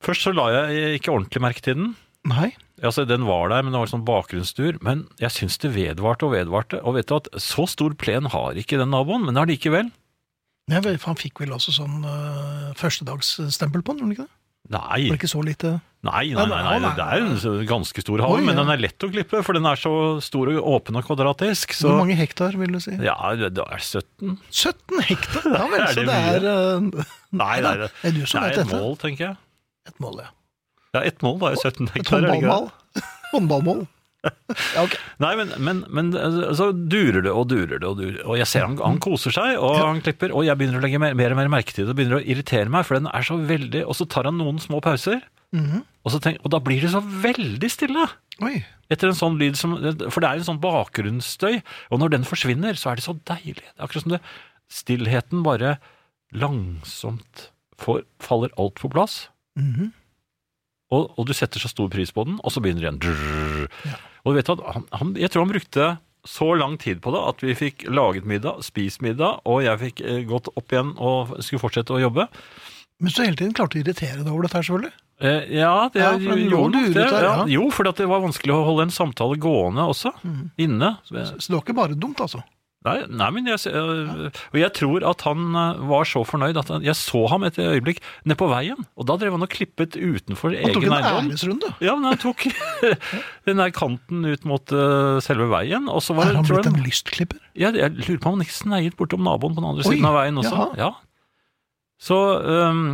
først så la jeg ikke ordentlig merke til den.
Nei.
Altså, den var der, men det var sånn bakgrunnsdur. Men jeg syns det vedvarte og vedvarte. Og vet du at så stor plen har ikke den naboen, men allikevel.
Nei, vel, for Han fikk vel også sånn eh, førstedagsstempel på den, gjorde han ikke det?
Nei,
Var det ikke så lite
nei, nei, nei, nei,
nei.
det er en så- ganske stor hage,
Oi,
men
ja.
den er lett å klippe, for den er så stor og åpen og kvadratisk. Så,
Hvor mange hektar, vil du si?
Ja, det det er 17.
17 hektar! Ja vel,
Er
så
det
det er eh,
Nei,
da,
nei, det-
Er du som
Nei,
vet
et
dette?
mål, tenker jeg.
Et mål, ja.
Ja, ett mål, da. 17 hektar.
Et
er det ikke det?
håndballmål. Håndballmål. Ja, ok.
Nei, men, men, men eh, så durer det og durer det, og, durer, det, og jeg ser han,
Mm.
han koser seg, og han klipper, og jeg begynner å legge mer, mer og mer merke til det, og begynner å irritere meg, for den er så veldig, og så tar han noen små pauser,
Mhm.
og, så tenk, og da blir det så veldig stille,
Oi.
etter en sånn lyd som, for det er en sånn bakgrunnsstøy, og når den forsvinner, så er det så deilig, det er akkurat som det, stillheten bare langsomt får, faller alt på plass,
Mhm.
og, og du setter så stor pris på den, og så begynner det igjen. Drrrr. Og du vet at han, han, jeg tror han brukte så lang tid på det at vi fikk laget middag, spist middag, og jeg fikk eh, gått opp igjen og skulle fortsette å jobbe.
Men så hele tiden klarte du å irritere deg over dette, her, selvfølgelig.
Eh, ja, det
Ja, for
gjorde
han lå
nok
luret
det.
der,
ja.
ja. Mhm.
Jo, for det var vanskelig å holde en samtale gående også, inne.
Så det var ikke bare dumt, altså.
Nei, nei, men jeg, eh, og jeg tror at han eh, var så fornøyd at han, jeg så ham et øyeblikk ned på veien, og da drev han og klippet utenfor
Han tok
egen
en
eiendom.
æresrunde.
Ja, men han tok den der kanten ut mot eh, selve veien, og så var
Er
det,
han
tror
blitt
jeg,
en lystklipper?
jeg, jeg lurer på om han ikke sneiet bortom naboen på den andre
Oi,
siden av veien også.
jaha.
Ja. Så øhm,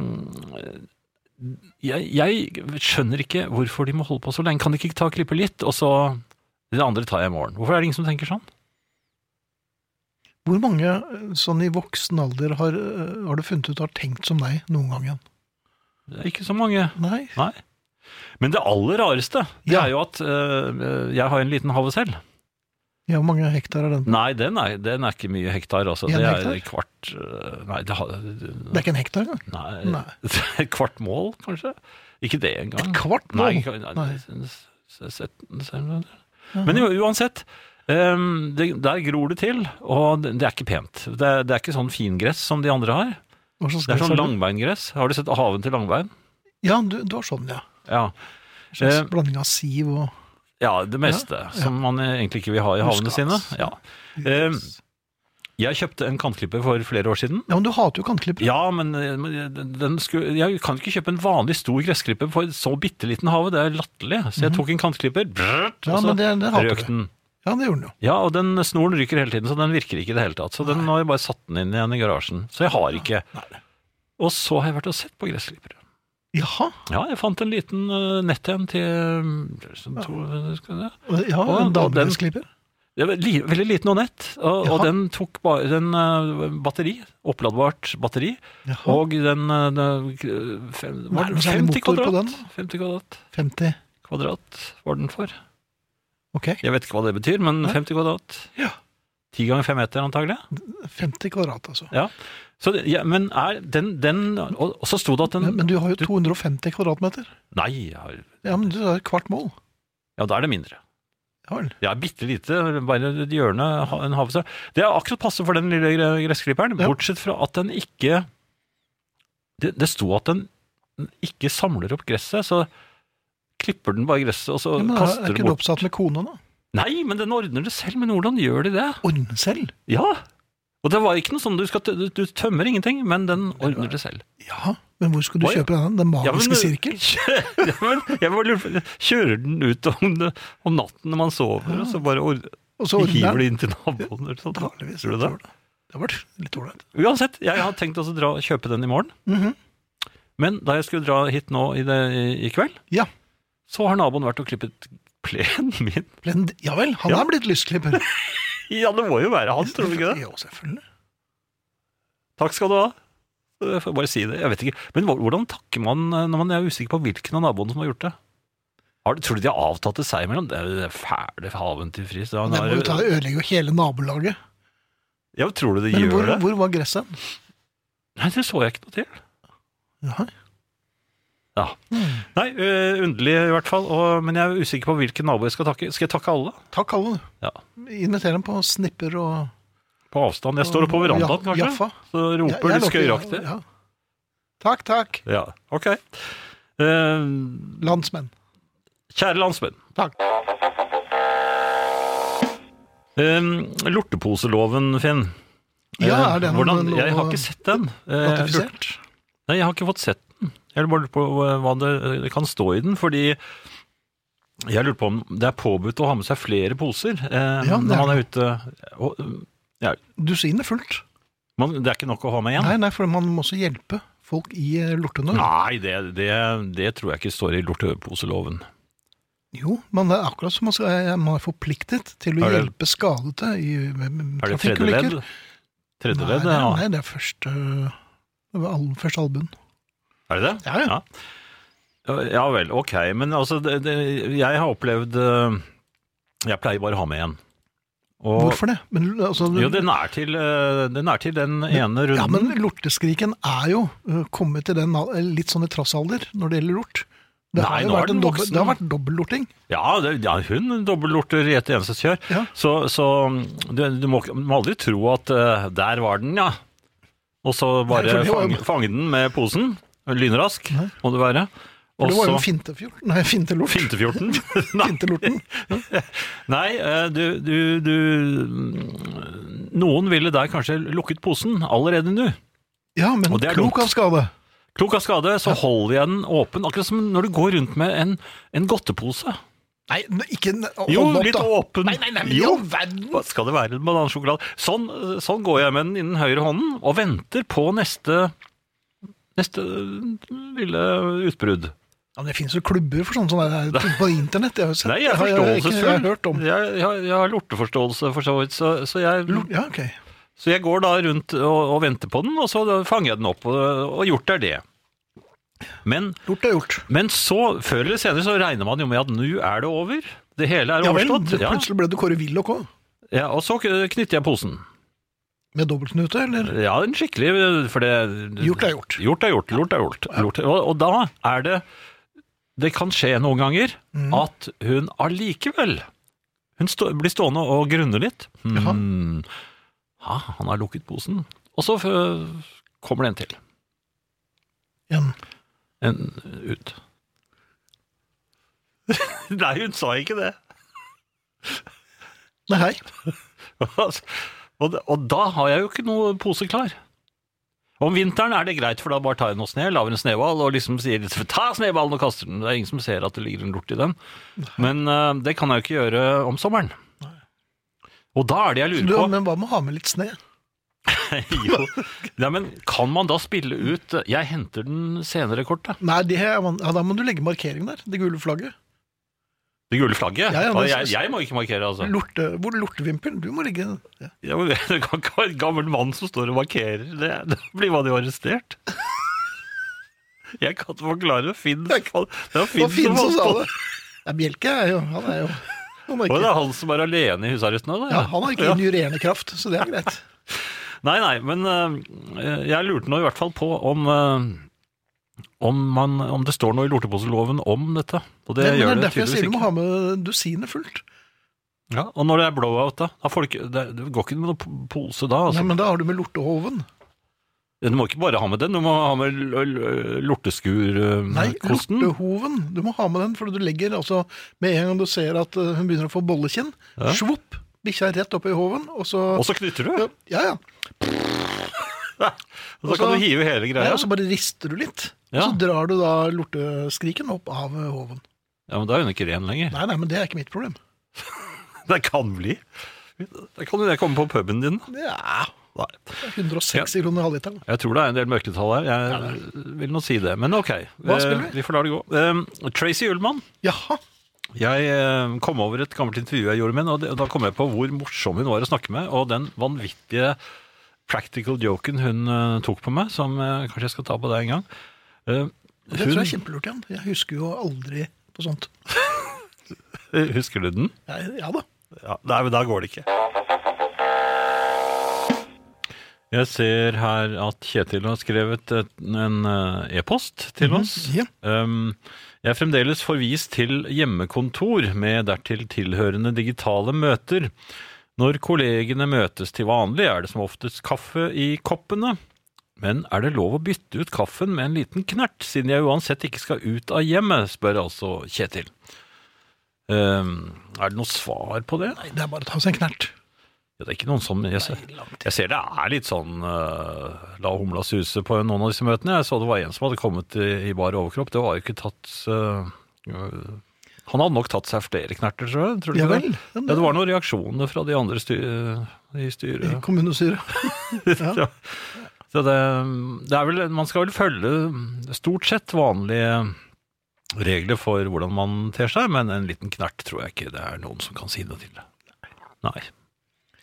jeg, jeg skjønner ikke hvorfor de må holde på så lenge. Kan de ikke ta og klippe litt, og så det andre tar jeg i morgen? Hvorfor er det ingen som tenker sånn?
Hvor mange eh, sånn i voksen alder har, eh, har du funnet ut har tenkt som deg noen gang igjen?
Det er ikke så mange.
Nei?
Nei. Men det aller rareste, det
Ja.
er jo at øh, jeg har en liten have selv.
Ja, hvor mange hektar er den?
Nei, den er, den er ikke mye hektar, altså.
En
Det
hektar?
er kvart øh, Nei, det har
Det er ikke en hektar engang.
Nei.
Nei.
Et kvart mål, kanskje? Ikke det engang.
Et kvart
Mm. Nei,
mål?
ikke- nei,
Nei.
s- s- setten- setten- Men jo, uansett, ehm, det, der gror det til, og det, det er ikke pent. Det, det er ikke sånn fingress som de andre har.
Hva slags
Det er
gress
sånn
du?
langbeingress. Har du sett haven til langbein?
Ja, du, du har sånn, ja.
Ja.
Slags
Eh,
blanding av siv og
ja, det meste. Som man egentlig ikke vil ha i havene sine.
Muskat.
Ja. Eh, Jeg kjøpte en kantklipper for flere år siden.
Ja, men du hater jo kantklippere.
Ja, men eh, men den skulle, jeg kan ikke kjøpe en vanlig stor gressklipper for et så bitte liten hage. Det er latterlig. Så jeg tok en kantklipper, brrrt,
Mhm. Ja,
og så
men det, det hater
røk
du.
den.
Ja, det gjorde den jo.
Ja, og den snoren ryker hele tiden, så den virker ikke i det hele tatt. Så den har jeg bare satt den inn igjen i garasjen. Så jeg har ikke. Og så har jeg vært og sett på gressklippere.
Jaha.
Ja, jeg fant en liten eh, nett en til eh, som to, skal jeg-
Ja,
Og-
en
og
damegressklipper.
det var li, veldig liten og nett, og, og
Jaha.
den tok bare den eh, batteri, oppladbart batteri,
Jaha.
og den, eh, den, eh, fem,
Er
var
det
det
noe særlig
50
motor på den,
kvadrat?
da?
50 kvadrat,
50.
kvadrat var den for.
Ok.
Jeg vet ikke hva det betyr, men 50 kvadrat.
Ja.
10 ganger 5 meter antagelig.
50 kvadrat, altså.
Ja. Så, det- ja, men er den, den og, og så sto det at den
Men, men du har jo
du-
250 kvadratmeter.
Nei, jeg har,
Ja, men du har et kvart mål.
ja, da er det mindre.
Ja vel.
Ja, bitte lite, bare et hjørne, ha- en havse. Det er akkurat passe for den lille gre- gressklipperen,
Ja.
bortsett fra at den ikke det, det sto at den ikke samler opp gresset, så klipper den bare gresset, og så
Ja, men er,
kaster
er ikke
den
du
bort.
oppsatt med kona, da?
Nei, men den ordner det selv, men hvordan gjør de det?
Ordne selv?
Ja! Og det var ikke noe sånn, du, skal, t- du, du tømmer ingenting, men den ordner det selv.
Ja, men hvor skulle du
Å, ja.
kjøpe den? Den
Ja, men-
magiske sirkel?
ja, men jeg bare lurer på, kjører den ut om, om natten når man sover, og så bare ordner,
Og så ordner
hiver
den?
det inn til naboen eller sånt.
Antageligvis,
Tror du
jeg
det?
tror det. Det har vært litt ålreit.
Uansett, jeg har tenkt også å dra, kjøpe den i morgen.
Mhm.
Men da jeg skulle dra hit nå i, det, i, i kveld,
Ja.
så har naboen vært og klippet plenen min.
Men- Ja vel, han
Ja.
er blitt lystklipper.
Ja, det må jo være han, tror du ikke det?
Jo, selvfølgelig.
Takk skal du ha. Jeg får bare si det, jeg vet ikke. Men hvor- hvordan takker man eh, når man er usikker på hvilken av naboene som har gjort det? Har, tror du de har avtatt det seg imellom? Det er jo det fæle haven til fris. Han
Men det må
har-
jo ta ødelegge jo hele nabolaget.
Ja, tror du det
Men
gjør
hvor,
det?
hvor var gresset? hen?
Nei, det så jeg ikke noe til.
Nei.
Ja. Nei, øh, underlig i hvert fall. Og, men jeg er usikker på hvilken nabo jeg skal takke. Skal jeg takke alle?
Takk, alle.
Ja.
Inviter dem på snipper og
På avstand. Jeg står oppe på verandaen,
Ja,
kanskje.
Jaffa.
Så
Ja,
roper
jeg
litt
lokker-
skøyeraktig. Ja.
ja. Takk, takk,
ok. Eh,
landsmenn.
kjære landsmenn.
Takk.
Eh, lorteposeloven, Finn. Eh,
Ja, er den
hvordan,
nå
Jeg har ikke sett den. Eh, jeg lurte-
ratifisert?
Nei, jeg har ikke fått sett den. Jeg lurer bare på eh, hva det det kan stå i den, fordi jeg lurer på om det er påbudt å ha med seg flere poser eh,
Ja, det
når
er
man er ute. Og, ja,
Dusinet er fullt.
man, det er ikke nok å ha med igjen?
Nei, nei, for man må også hjelpe folk i eh, lortenød.
Nei, det, det, det tror jeg ikke står i lorteposeloven.
Jo, men det er akkurat som man, skal, eh, man er forpliktet til å
Er det-
hjelpe skadete i eh, med- med
Er det tredje ledd?
trafikkulykker.
Tredje
Nei,
ledd,
nei,
ja.
nei, det er første det var all, første albuen.
Er det det?
Ja, ja.
Ja vel, ok. Men altså, det, det, jeg har opplevd eh, Jeg pleier bare å ha med igjen. Og,
Hvorfor det? Men, altså,
Jo, den er til, eh, den, er til den ene runden.
Ja, men lorteskriken er jo eh, kommet til den al- litt sånn i trassalder når det gjelder lort. Det
Nei,
har jo
nå er
vært,
den
en dobbel,
voksen.
det har vært dobbellorting.
Ja, det, ja hun dobbeltlorter i et eneste kjør.
Ja.
Så, så du, du, må, ikke- du må aldri tro at eh, der var den, ja. Og
Nei,
så
for
bare
det var-
fange, fange den med posen. Lynrask
Nei.
må det være.
For
Og
det var jo
så
en fintefjort. Nei, fintelort.
Fintefjorten. Nei,
Fintelorten.
nei eh, du, du, du Noen ville der kanskje lukket posen allerede nå.
Ja, men
Og det er
klok
dumt.
av skade.
Klok av skade, så holder jeg den åpen. Akkurat som når du går rundt med en, en godtepose.
Nei, n- ikke n- hold
Jo,
opp,
litt
da.
åpen.
Nei, nei, nei, men i
Jo.
all verden!
Hva skal det være med banansjokolade? Sånn, sånn går jeg med den innen høyre hånden og venter på neste Neste eh, lille utbrudd.
Ja, men det finnes jo klubber for sånne som er på internett. Jeg har jo sett.
Nei, jeg er
har- jeg har ikke-
forståelsesfull.
Jeg har hørt om
Jeg, jeg, jeg har lorteforståelse, for så vidt. Så, så jeg
lort. Ja, ok.
Så jeg går da rundt og, og venter på den, og så fanger jeg den opp, og, og gjort er det. Men,
Gjort er gjort.
men så, før eller senere, så regner man jo med at nå er det over. Det hele er
Ja vel,
overstått.
det-
Ja,
plutselig ble du Kåre Willoch òg.
ja, og så knytter jeg posen.
Med dobbeltknute, eller?
Ja, en skikkelig for det,
Gjort er gjort.
Gjort er gjort. Lort er gjort. Lort er, og, og da er det Det kan skje noen ganger
Mm.
at hun allikevel Hun stå, blir stående og grunne litt. Hmm. Ha, han har lukket posen. Og så øh, kommer det en til.
En.
En ut. Nei, hun sa ikke det.
Nei, hei.
og, da- og da har jeg jo ikke noe pose klar. Om vinteren er det greit, for da bare tar jeg noe sne, lager en snøball og liksom sier litt, ta snøballen og kaster den. Det er ingen som ser at det ligger en lort i den. Men eh, det kan jeg jo ikke gjøre om sommeren. Og da er det jeg
Du,
lurer på
men hva med å ha med litt sne?
jo, nei, men Kan man da spille ut eh, 'jeg henter den senere'-kortet?
Nei, det, er man- ja, da må du legge markering der. Det gule flagget.
Det gule flagget?
Ja, ja,
Da,
det-
jeg, jeg må ikke markere, altså.
Lorte, hvor lortevimpelen? Du må legge ja.
Ja, men Det kan ikke være en gammel mann som står og markerer. Det, da blir man jo arrestert. Jeg kan ikke forklare det. Finn, det var
Det var
Finn,
Finn som sa
fant på
det. Ja, Bjelke er jo Han er jo han er
Og det
ikke,
er han som er alene i husarresten nå, da?
ja, han har ikke injurerende kraft, så det er greit.
Nei, nei, men øh, jeg lurte nå i hvert fall på om øh, om, man, om det står noe i lorteposeloven om dette. Og det
Men det
gjør
er
det
derfor jeg sier du
tydeligvis
må
ikke.
ha med dusinet fullt.
Ja, og når det er blowout, da? da får du ikke, det, det går ikke med noen po- pose da?
Ja,
Altså.
men da har du med lortehoven.
Du må ikke bare ha med den, du må ha med eh,
Nei,
lorteskurkosten.
lortehoven. Du må ha med den, for du legger altså Med en gang du ser at eh, hun begynner å få bollekinn,
Ja.
svopp, bikkja er rett opp i hoven, og så
Og så knytter du?
Ja, ja. ja.
Og så
Og
kan
så-
du hive hele
Nei,
greia.
og så bare rister du litt,
Ja.
og så drar du da lorteskriken opp av eh, hoven.
Ja, men da er hun ikke ren lenger.
Nei, nei, men det er ikke mitt problem.
Det kan bli. Da kan jo det komme på puben din.
Ja,
Nei.
160 kroner halvliteren.
Jeg tror det er en del mørketall her. Jeg vil nå si det. Men ok,
Hva
eh,
spiller vi?
vi får la det gå. Eh, Tracy Ullmann.
Jaha.
Jeg eh, kom over et gammelt intervju jeg gjorde med henne, og det- og da kom jeg på hvor morsom hun var å snakke med, og den vanvittige practical joken hun eh, tok på meg, som eh, kanskje jeg skal ta på deg en gang. Eh,
Det tror jeg er kjempelurt igjen. Jeg husker jo aldri på sånt.
hun, eh, husker du den?
Ja, ja da.
Ja, nei, men da går det ikke. Jeg ser her at Kjetil har skrevet et, en eh, e-post til oss.
ja.
Um, jeg er fremdeles forvist til hjemmekontor med dertil tilhørende digitale møter. Når kollegene møtes til vanlig, er det som oftest kaffe i koppene. Men er det lov å bytte ut kaffen med en liten knert, siden jeg uansett ikke skal ut av hjemmet, spør altså Kjetil. Um, er det noe svar på det?
Nei, det er bare å ta seg en knert.
Ja, Det er ikke noen som jeg ser, jeg ser det er litt sånn eh, la humla suse på noen av disse møtene. Jeg så det var en som hadde kommet i, i bar overkropp. Det var jo ikke tatt eh, øh, Han hadde nok tatt seg flere knerter, tror jeg. Tror du
Ja
ikke
vel.
det? Ja, det var noen reaksjoner fra de andre styr, øh, i styret.
I kommunestyret.
Ja. Så det, det er vel, man skal vel følge stort sett vanlige regler for hvordan man ter seg, men en liten knert tror jeg ikke det er noen som kan si noe til. Nei.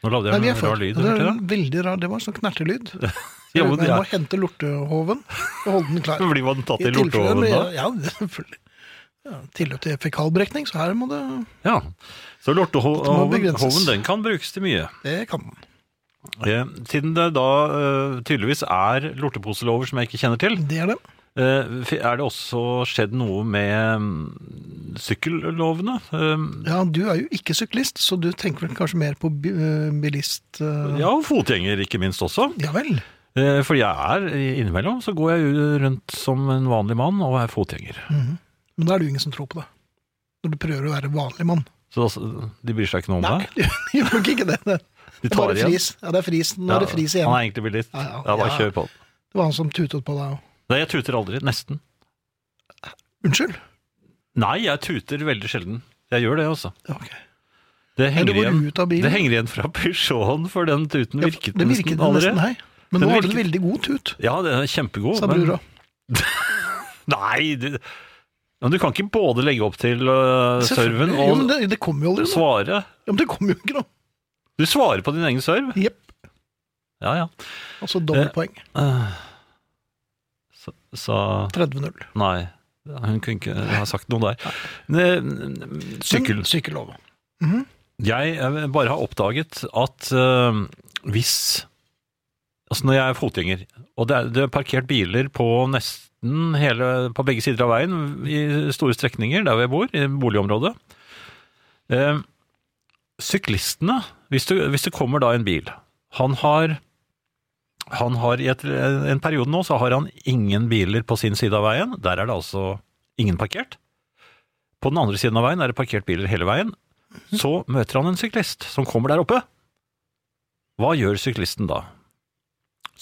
Nå lagde
Nei,
jeg
vi er
en
for.
rar lyd.
det er
hørte
en veldig rar. Det var en sånn knertelyd.
du det? Ja,
Jeg
men,
må
ja.
hente lortehoven og holde den klar.
Blir man tatt i
tilfelle
lortehoven da?
blir- Ja, selvfølgelig. Ja, tilløp til fekalbrekning, så her må det
Ja. Så
Det må
lortehoven
begrenses.
hoven, den kan brukes til mye.
Det kan man.
Eh, Siden det da eh, tydeligvis er lorteposelover som jeg ikke kjenner til,
Det er det.
eh, fi- er det også skjedd noe med mm, sykkellovene? Eh,
Ja, du er jo ikke syklist, så du tenker vel kanskje mer på bi- eh, bilist... eh,
Ja, og fotgjenger ikke minst også.
Ja vel.
Eh, For jeg er innimellom, så går jeg jo rundt som en vanlig mann og er fotgjenger.
Men da er det jo ingen som tror på det. Når du prøver å være vanlig mann.
Så altså, de bryr seg ikke noe om deg.
du gjør nok ikke det. Det
De
er
tar
bare
igjen.
fris. Ja, det er fris. Nå er det fris
Ja,
igjen.
han er egentlig bilist.
Ja,
Ja,
ja. Ja,
bare
ja.
kjør på.
Det var han som tutet på deg. og-
Nei, jeg tuter aldri. Nesten.
Unnskyld?
Nei, jeg tuter veldig sjelden. Jeg gjør det, altså.
Ja, ok.
Det
Nei,
henger,
du går
igjen.
ut av bilen.
det henger igjen fra Peugeoten, for den tuten
Ja,
virket,
det virket
nesten aldri.
nesten, nei. Men
Den
nå har du en
virket-
veldig god tut,
Ja, den er kjempegod.
sa
men-
brura.
Nei, du, men du kan ikke både legge opp til uh, serven
Selvfølgelig. Jo, men
og
det, det kommer jo aldri noe.
svare.
Ja, men det kommer jo ikke noe.
Du svarer på din egen serv.
Jepp.
Ja, ja.
Altså dobbeltpoeng.
Eh, Så, så
30-0.
Nei. Hun kunne ikke ha sagt noe der. øh, Ne- Sykkel.
Men Sykkellov.
Jeg eh, bare har oppdaget at eh, hvis Altså når jeg er fotgjenger, og det er, det er parkert biler på nesten hele På begge sider av veien i store strekninger der hvor jeg bor, i boligområdet. Eh, syklistene, hvis det, hvis det kommer da en bil Han har han har i et, en periode nå så har han ingen biler på sin side av veien. Der er det altså ingen parkert. På den andre siden av veien er det parkert biler hele veien. Så møter han en syklist som kommer der oppe. Hva gjør syklisten da?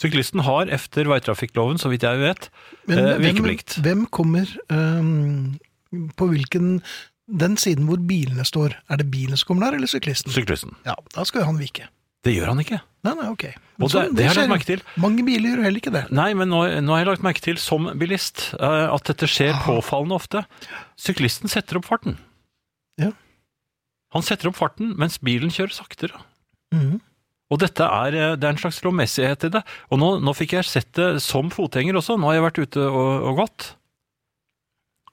Syklisten har efter veitrafikkloven, så vidt jeg vet,
Men
Eh,
hvem,
virkeplikt.
hvem kommer øhm, på hvilken den siden hvor bilene står? Er det bilen som kommer der, eller syklisten?
syklisten.
ja, da skal jo han vike.
Det gjør han ikke.
Nei, nei, ok. Men
Og det,
sånn,
det har jeg
skjer jo.
lagt merke til.
Mange biler gjør heller ikke det.
Nei, men nå, nå har jeg lagt merke til, som bilist, eh, at dette skjer
Ah.
påfallende ofte. Syklisten setter opp farten.
Ja.
Han setter opp farten mens bilen kjører saktere.
Mhm.
Og dette er, eh, det er en slags lovmessighet i det. Og nå, nå fikk jeg sett det som fotgjenger også. Nå har jeg vært ute og, og gått.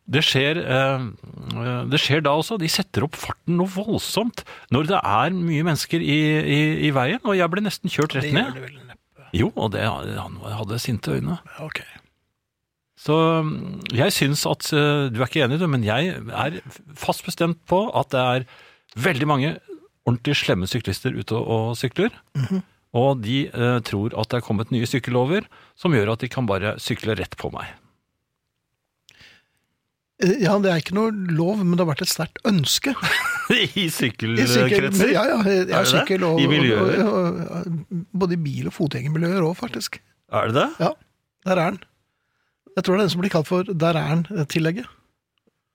Det skjer, eh, eh, det skjer da også. De setter opp farten noe voldsomt når det er mye mennesker i, i, i veien. Og jeg ble nesten kjørt rett
gjør
ned.
det vel neppe.
Jo, og det, han hadde sinte øyne.
Ok.
Så mm, jeg syns at eh, Du er ikke enig, du, men jeg er fast bestemt på at det er veldig mange ordentlig slemme syklister ute og, og sykler.
Mhm.
Og de eh, tror at det er kommet nye sykkellover som gjør at de kan bare sykle rett på meg.
Eh, Ja, det er ikke noe lov, men det har vært et sterkt ønske.
I
I sykkel-
sykkelkretser?
Ja, ja. Jeg,
Er
jeg
det
sykkel
det?
og,
I
og,
miljøer?
og, og, både i bil- og fotgjengermiljøer òg, faktisk.
Er det det?
Ja, der er den. Jeg tror det er den eh, som blir kalt for 'der er den'-tillegget.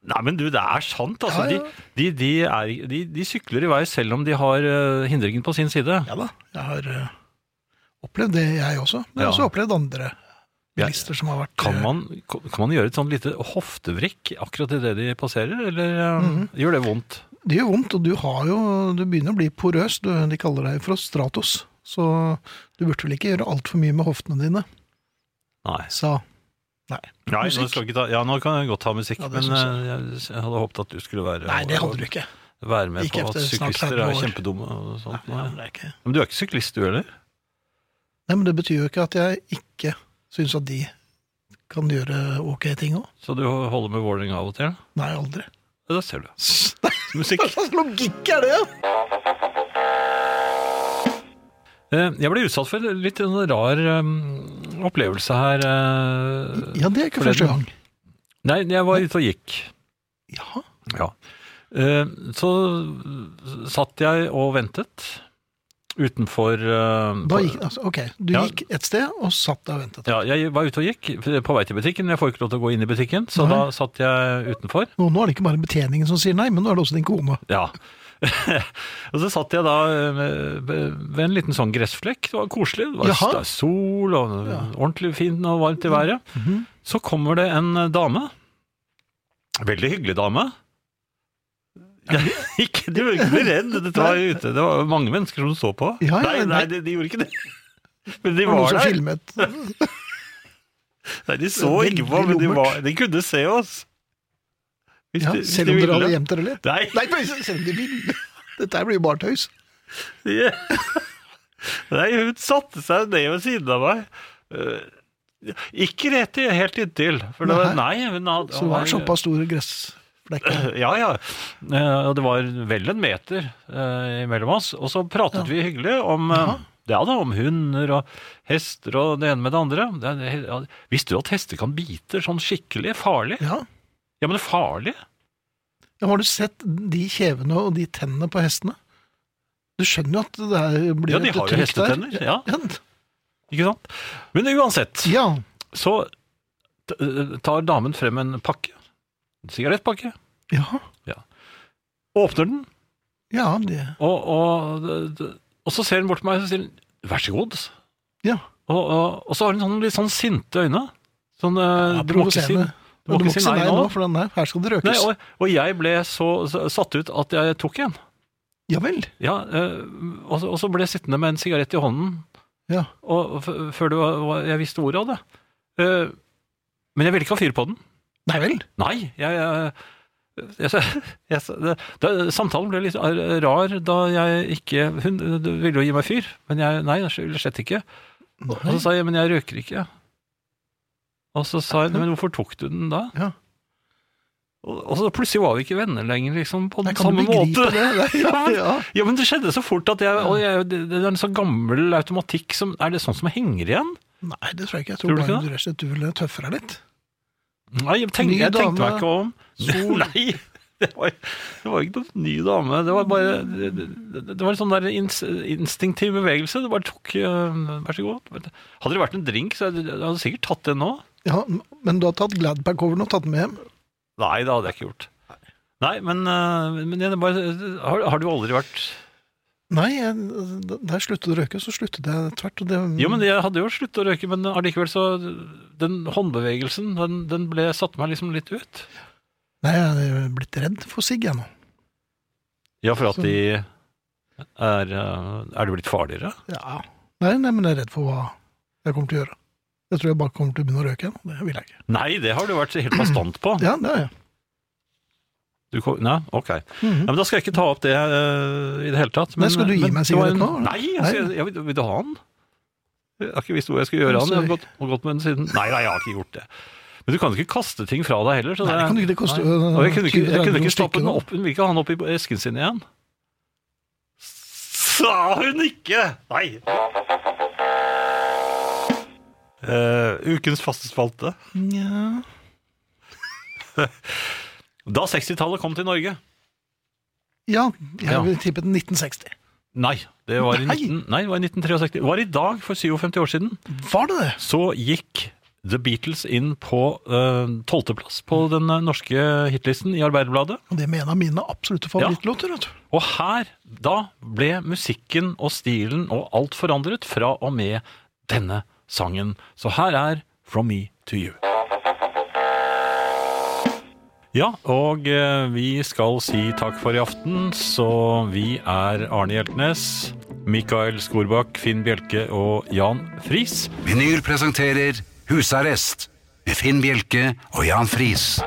Nei, men du, det er sant,
Ja,
altså.
ja.
De, de, de, er, de, de sykler i vei selv om de har eh, hindringen på sin side.
Ja da, jeg har eh, opplevd det, jeg også. Men jeg har
Ja.
også opplevd andre bilister som har vært
Kan
eh,
man, kan man gjøre et sånt lite hoftevrikk akkurat idet de passerer, eller eh,
Mhm.
gjør det vondt?
Det gjør vondt, og du har jo Du begynner å bli porøs. Du, de kaller deg for stratos. Så du burde vel ikke gjøre altfor mye med hoftene dine,
Nei.
sa Nei.
Nei, nå,
Musikk.
skal jeg ikke ta, ja, nå kan jeg godt ta musikk,
Ja, det
men
synes
eh, jeg, jeg hadde håpet at du skulle være,
Nei, det hadde du ikke.
være med
Ikke
på at
etter snart 30
syklister er
år.
kjempedumme og sånt.
Nei,
Nei.
det er ikke.
Men du er ikke syklist, du heller?
Nei, men det betyr jo ikke at jeg ikke syns at de kan gjøre ok ting òg.
Så du holder med Vålerenga av og til?
Nei, aldri.
Ja, Da ser du. Musikk.
Hva slags logikk er det?
Eh, Jeg ble utsatt for en litt en rar eh, opplevelse her. eh.
Ja, det er ikke første gang.
Nei, jeg var ute og gikk.
Ja.
Ja. Eh, Så satt jeg og ventet utenfor eh,
Da
på-
gikk, altså, ok, du
Ja.
gikk et sted og satt der og ventet.
Ja, jeg var ute og gikk på vei til butikken. Jeg får ikke lov til å gå inn i butikken, så
Nei.
da satt jeg utenfor.
Nå, nå er det ikke bare betjeningen som sier nei, men nå er det også din kone.
Ja. og så satt jeg da eh, ved en liten sånn gressflekk. Det var koselig. Det var
Jaha.
det er sol og ordentlig fint og varmt i været.
Mm, mhm.
Så kommer det en eh, dame. Veldig hyggelig dame. Jeg, ikke, de var ikke bli redd, dette var jo ute. Det var mange mennesker som så på.
Ja, ja,
nei,
men-
nei, de, de gjorde ikke det. Men de
Det var noen
var
som
der.
filmet.
Nei, de så
Veldig
ikke på, men de, var,
lummert.
de kunne se oss. Hvis
Ja,
de- hvis
selv
de
om dere
ville.
hadde gjemt dere litt.
Nei.
Nei, men selv om de ville. Dette her blir jo bare tøys.
Ja. Nei, hun satte seg ned ved siden av meg. Eh, Ikke rett i, helt inntil. For det var, nei, hun hadde,
Så det var såpass store gressflekker.
Ja, ja. Eh, Og det var vel en meter eh, imellom oss. Og så pratet vi hyggelig om eh, ja da, om hunder og hester og det ene med det andre. Det er- det er- ja, Visste du at hester kan bite sånn skikkelig farlig?
Ja.
Ja, men farlig?
ja, har du sett de kjevene og de tennene på hestene? Du skjønner jo at det her blir
Ja, de
et
har jo
trykk der.
hestetenner, ja.
Ja.
Ikke sant? Men uansett.
ja.
Så t- eh, tar damen frem en pakke. En sigarettpakke.
Ja,
Åpner den,
ja, det.
og, og, d- d- og så ser hun bort på meg og så sier hun, vær så god.
Ja.
Og, og, og så har hun sånn, litt sånn sinte øyne. Sånn, eh,
Ja,
du må ikke si,
provoserende.
du må ikke si nei nå.
for den her, her skal det
Nei,
røkes.
og, og jeg ble så, så satt ut at jeg tok en.
Ja vel.
Ja, eh, og, så- og så ble jeg sittende med en sigarett i hånden
Ja.
og f før du, var- jeg visste ordet av det. Eh, men jeg ville ikke ha fyr på den.
Nei vel?
Nei, jeg, jeg, jeg, jeg, det, det, Samtalen ble litt rar da jeg ikke Hun ville jo gi meg fyr, men jeg Nei, jeg ville slett ikke. Og så sa jeg men jeg røker ikke. Og så sa jeg men hvorfor tok du den da?
Ja.
Og, og så plutselig var vi ikke venner lenger, liksom, på
Nei,
den
kan du
samme
begripe
måte.
det? Nei, ja, ja.
Ja, men det skjedde så fort at jeg, og jeg Det det er en sånn gammel automatikk som Er det sånn som henger igjen?
Nei, det tror jeg ikke. Jeg
Tror
tror,
du ikke
bare du rett og slett du ville tøffe deg litt.
Nei, jeg tenkte,
Ny
jeg tenkte
dame,
meg ikke om.
sol.
Nei, det var, det var ikke noen ny dame. Det var bare Det, det, det var en sånn der ins, instinktiv bevegelse. Det bare tok øh, Vær så god. Hadde det vært en drink, så hadde jeg jeg hadde sikkert tatt den nå.
Ja, Men du har tatt Gladpack-coveren og tatt den med hjem?
Nei, det hadde jeg ikke gjort. Nei, men, øh, men jeg, bare, har, har du aldri vært
Nei, jeg, da jeg sluttet å røyke, så sluttet jeg tvert. Og det,
Jo, men jeg hadde jo sluttet å røyke, men allikevel så Den håndbevegelsen, den, den ble satte meg liksom litt ut.
Nei, jeg er blitt redd for sigg, jeg nå.
Ja, for at de er øh, Er det blitt farligere?
Ja. Nei, nei, men jeg er redd for hva jeg kommer til å gjøre. Jeg tror jeg bare kommer til å begynne å røyke igjen. og Det vil jeg ikke.
Nei, det har du vært helt bastant på.
Ja, det er jeg. Mhm.
Du kom, nei, ok. Ja, men da skal jeg ikke ta opp det eh, i det hele tatt.
Nei, skal du gi
men
meg
det var
sigarett
en-
nå?
Nei, jeg, skal- jeg, vil, vil du ha den? Jeg har ikke visst hvor jeg skal gjøre den. Jeg har gått, har gått med den siden. Nei, nei, jeg har ikke gjort det. Men du kan jo ikke kaste ting fra deg heller. Så
Nei, det kan du ikke. Det koster
Nei.
jo
Og jeg kunne ikke,
20-30
jeg kunne ikke
kroner
stappe
stykket
den
nå.
opp. Hun vil ikke ha den opp i esken sin igjen. Sa hun ikke! Nei! Eh, ukens faste spalte.
Nja.
Da 60-tallet kom til Norge
Ja,
Ja.
jeg vil tippe den 1960.
Nei, det var i,
Nei.
19, nei, det var i 1963. Det var i dag, for 57 år siden,
Var det det?
så gikk The Beatles inn på tolvteplass plass på den eh, norske hitlisten i Arbeiderbladet.
Og det med en av mine absolutte favorittlåter, vet du.
Og her, da, ble musikken og stilen og alt forandret fra og med denne sangen. Så her er From Me To You. Ja, og eh, vi skal si takk for i aften, så vi er Arne Hjeltnes, Mikael Skorbakk, Finn Bjelke og Jan Friis.
Vinyl presenterer Husarrest med Finn Bjelke og Jan Friis.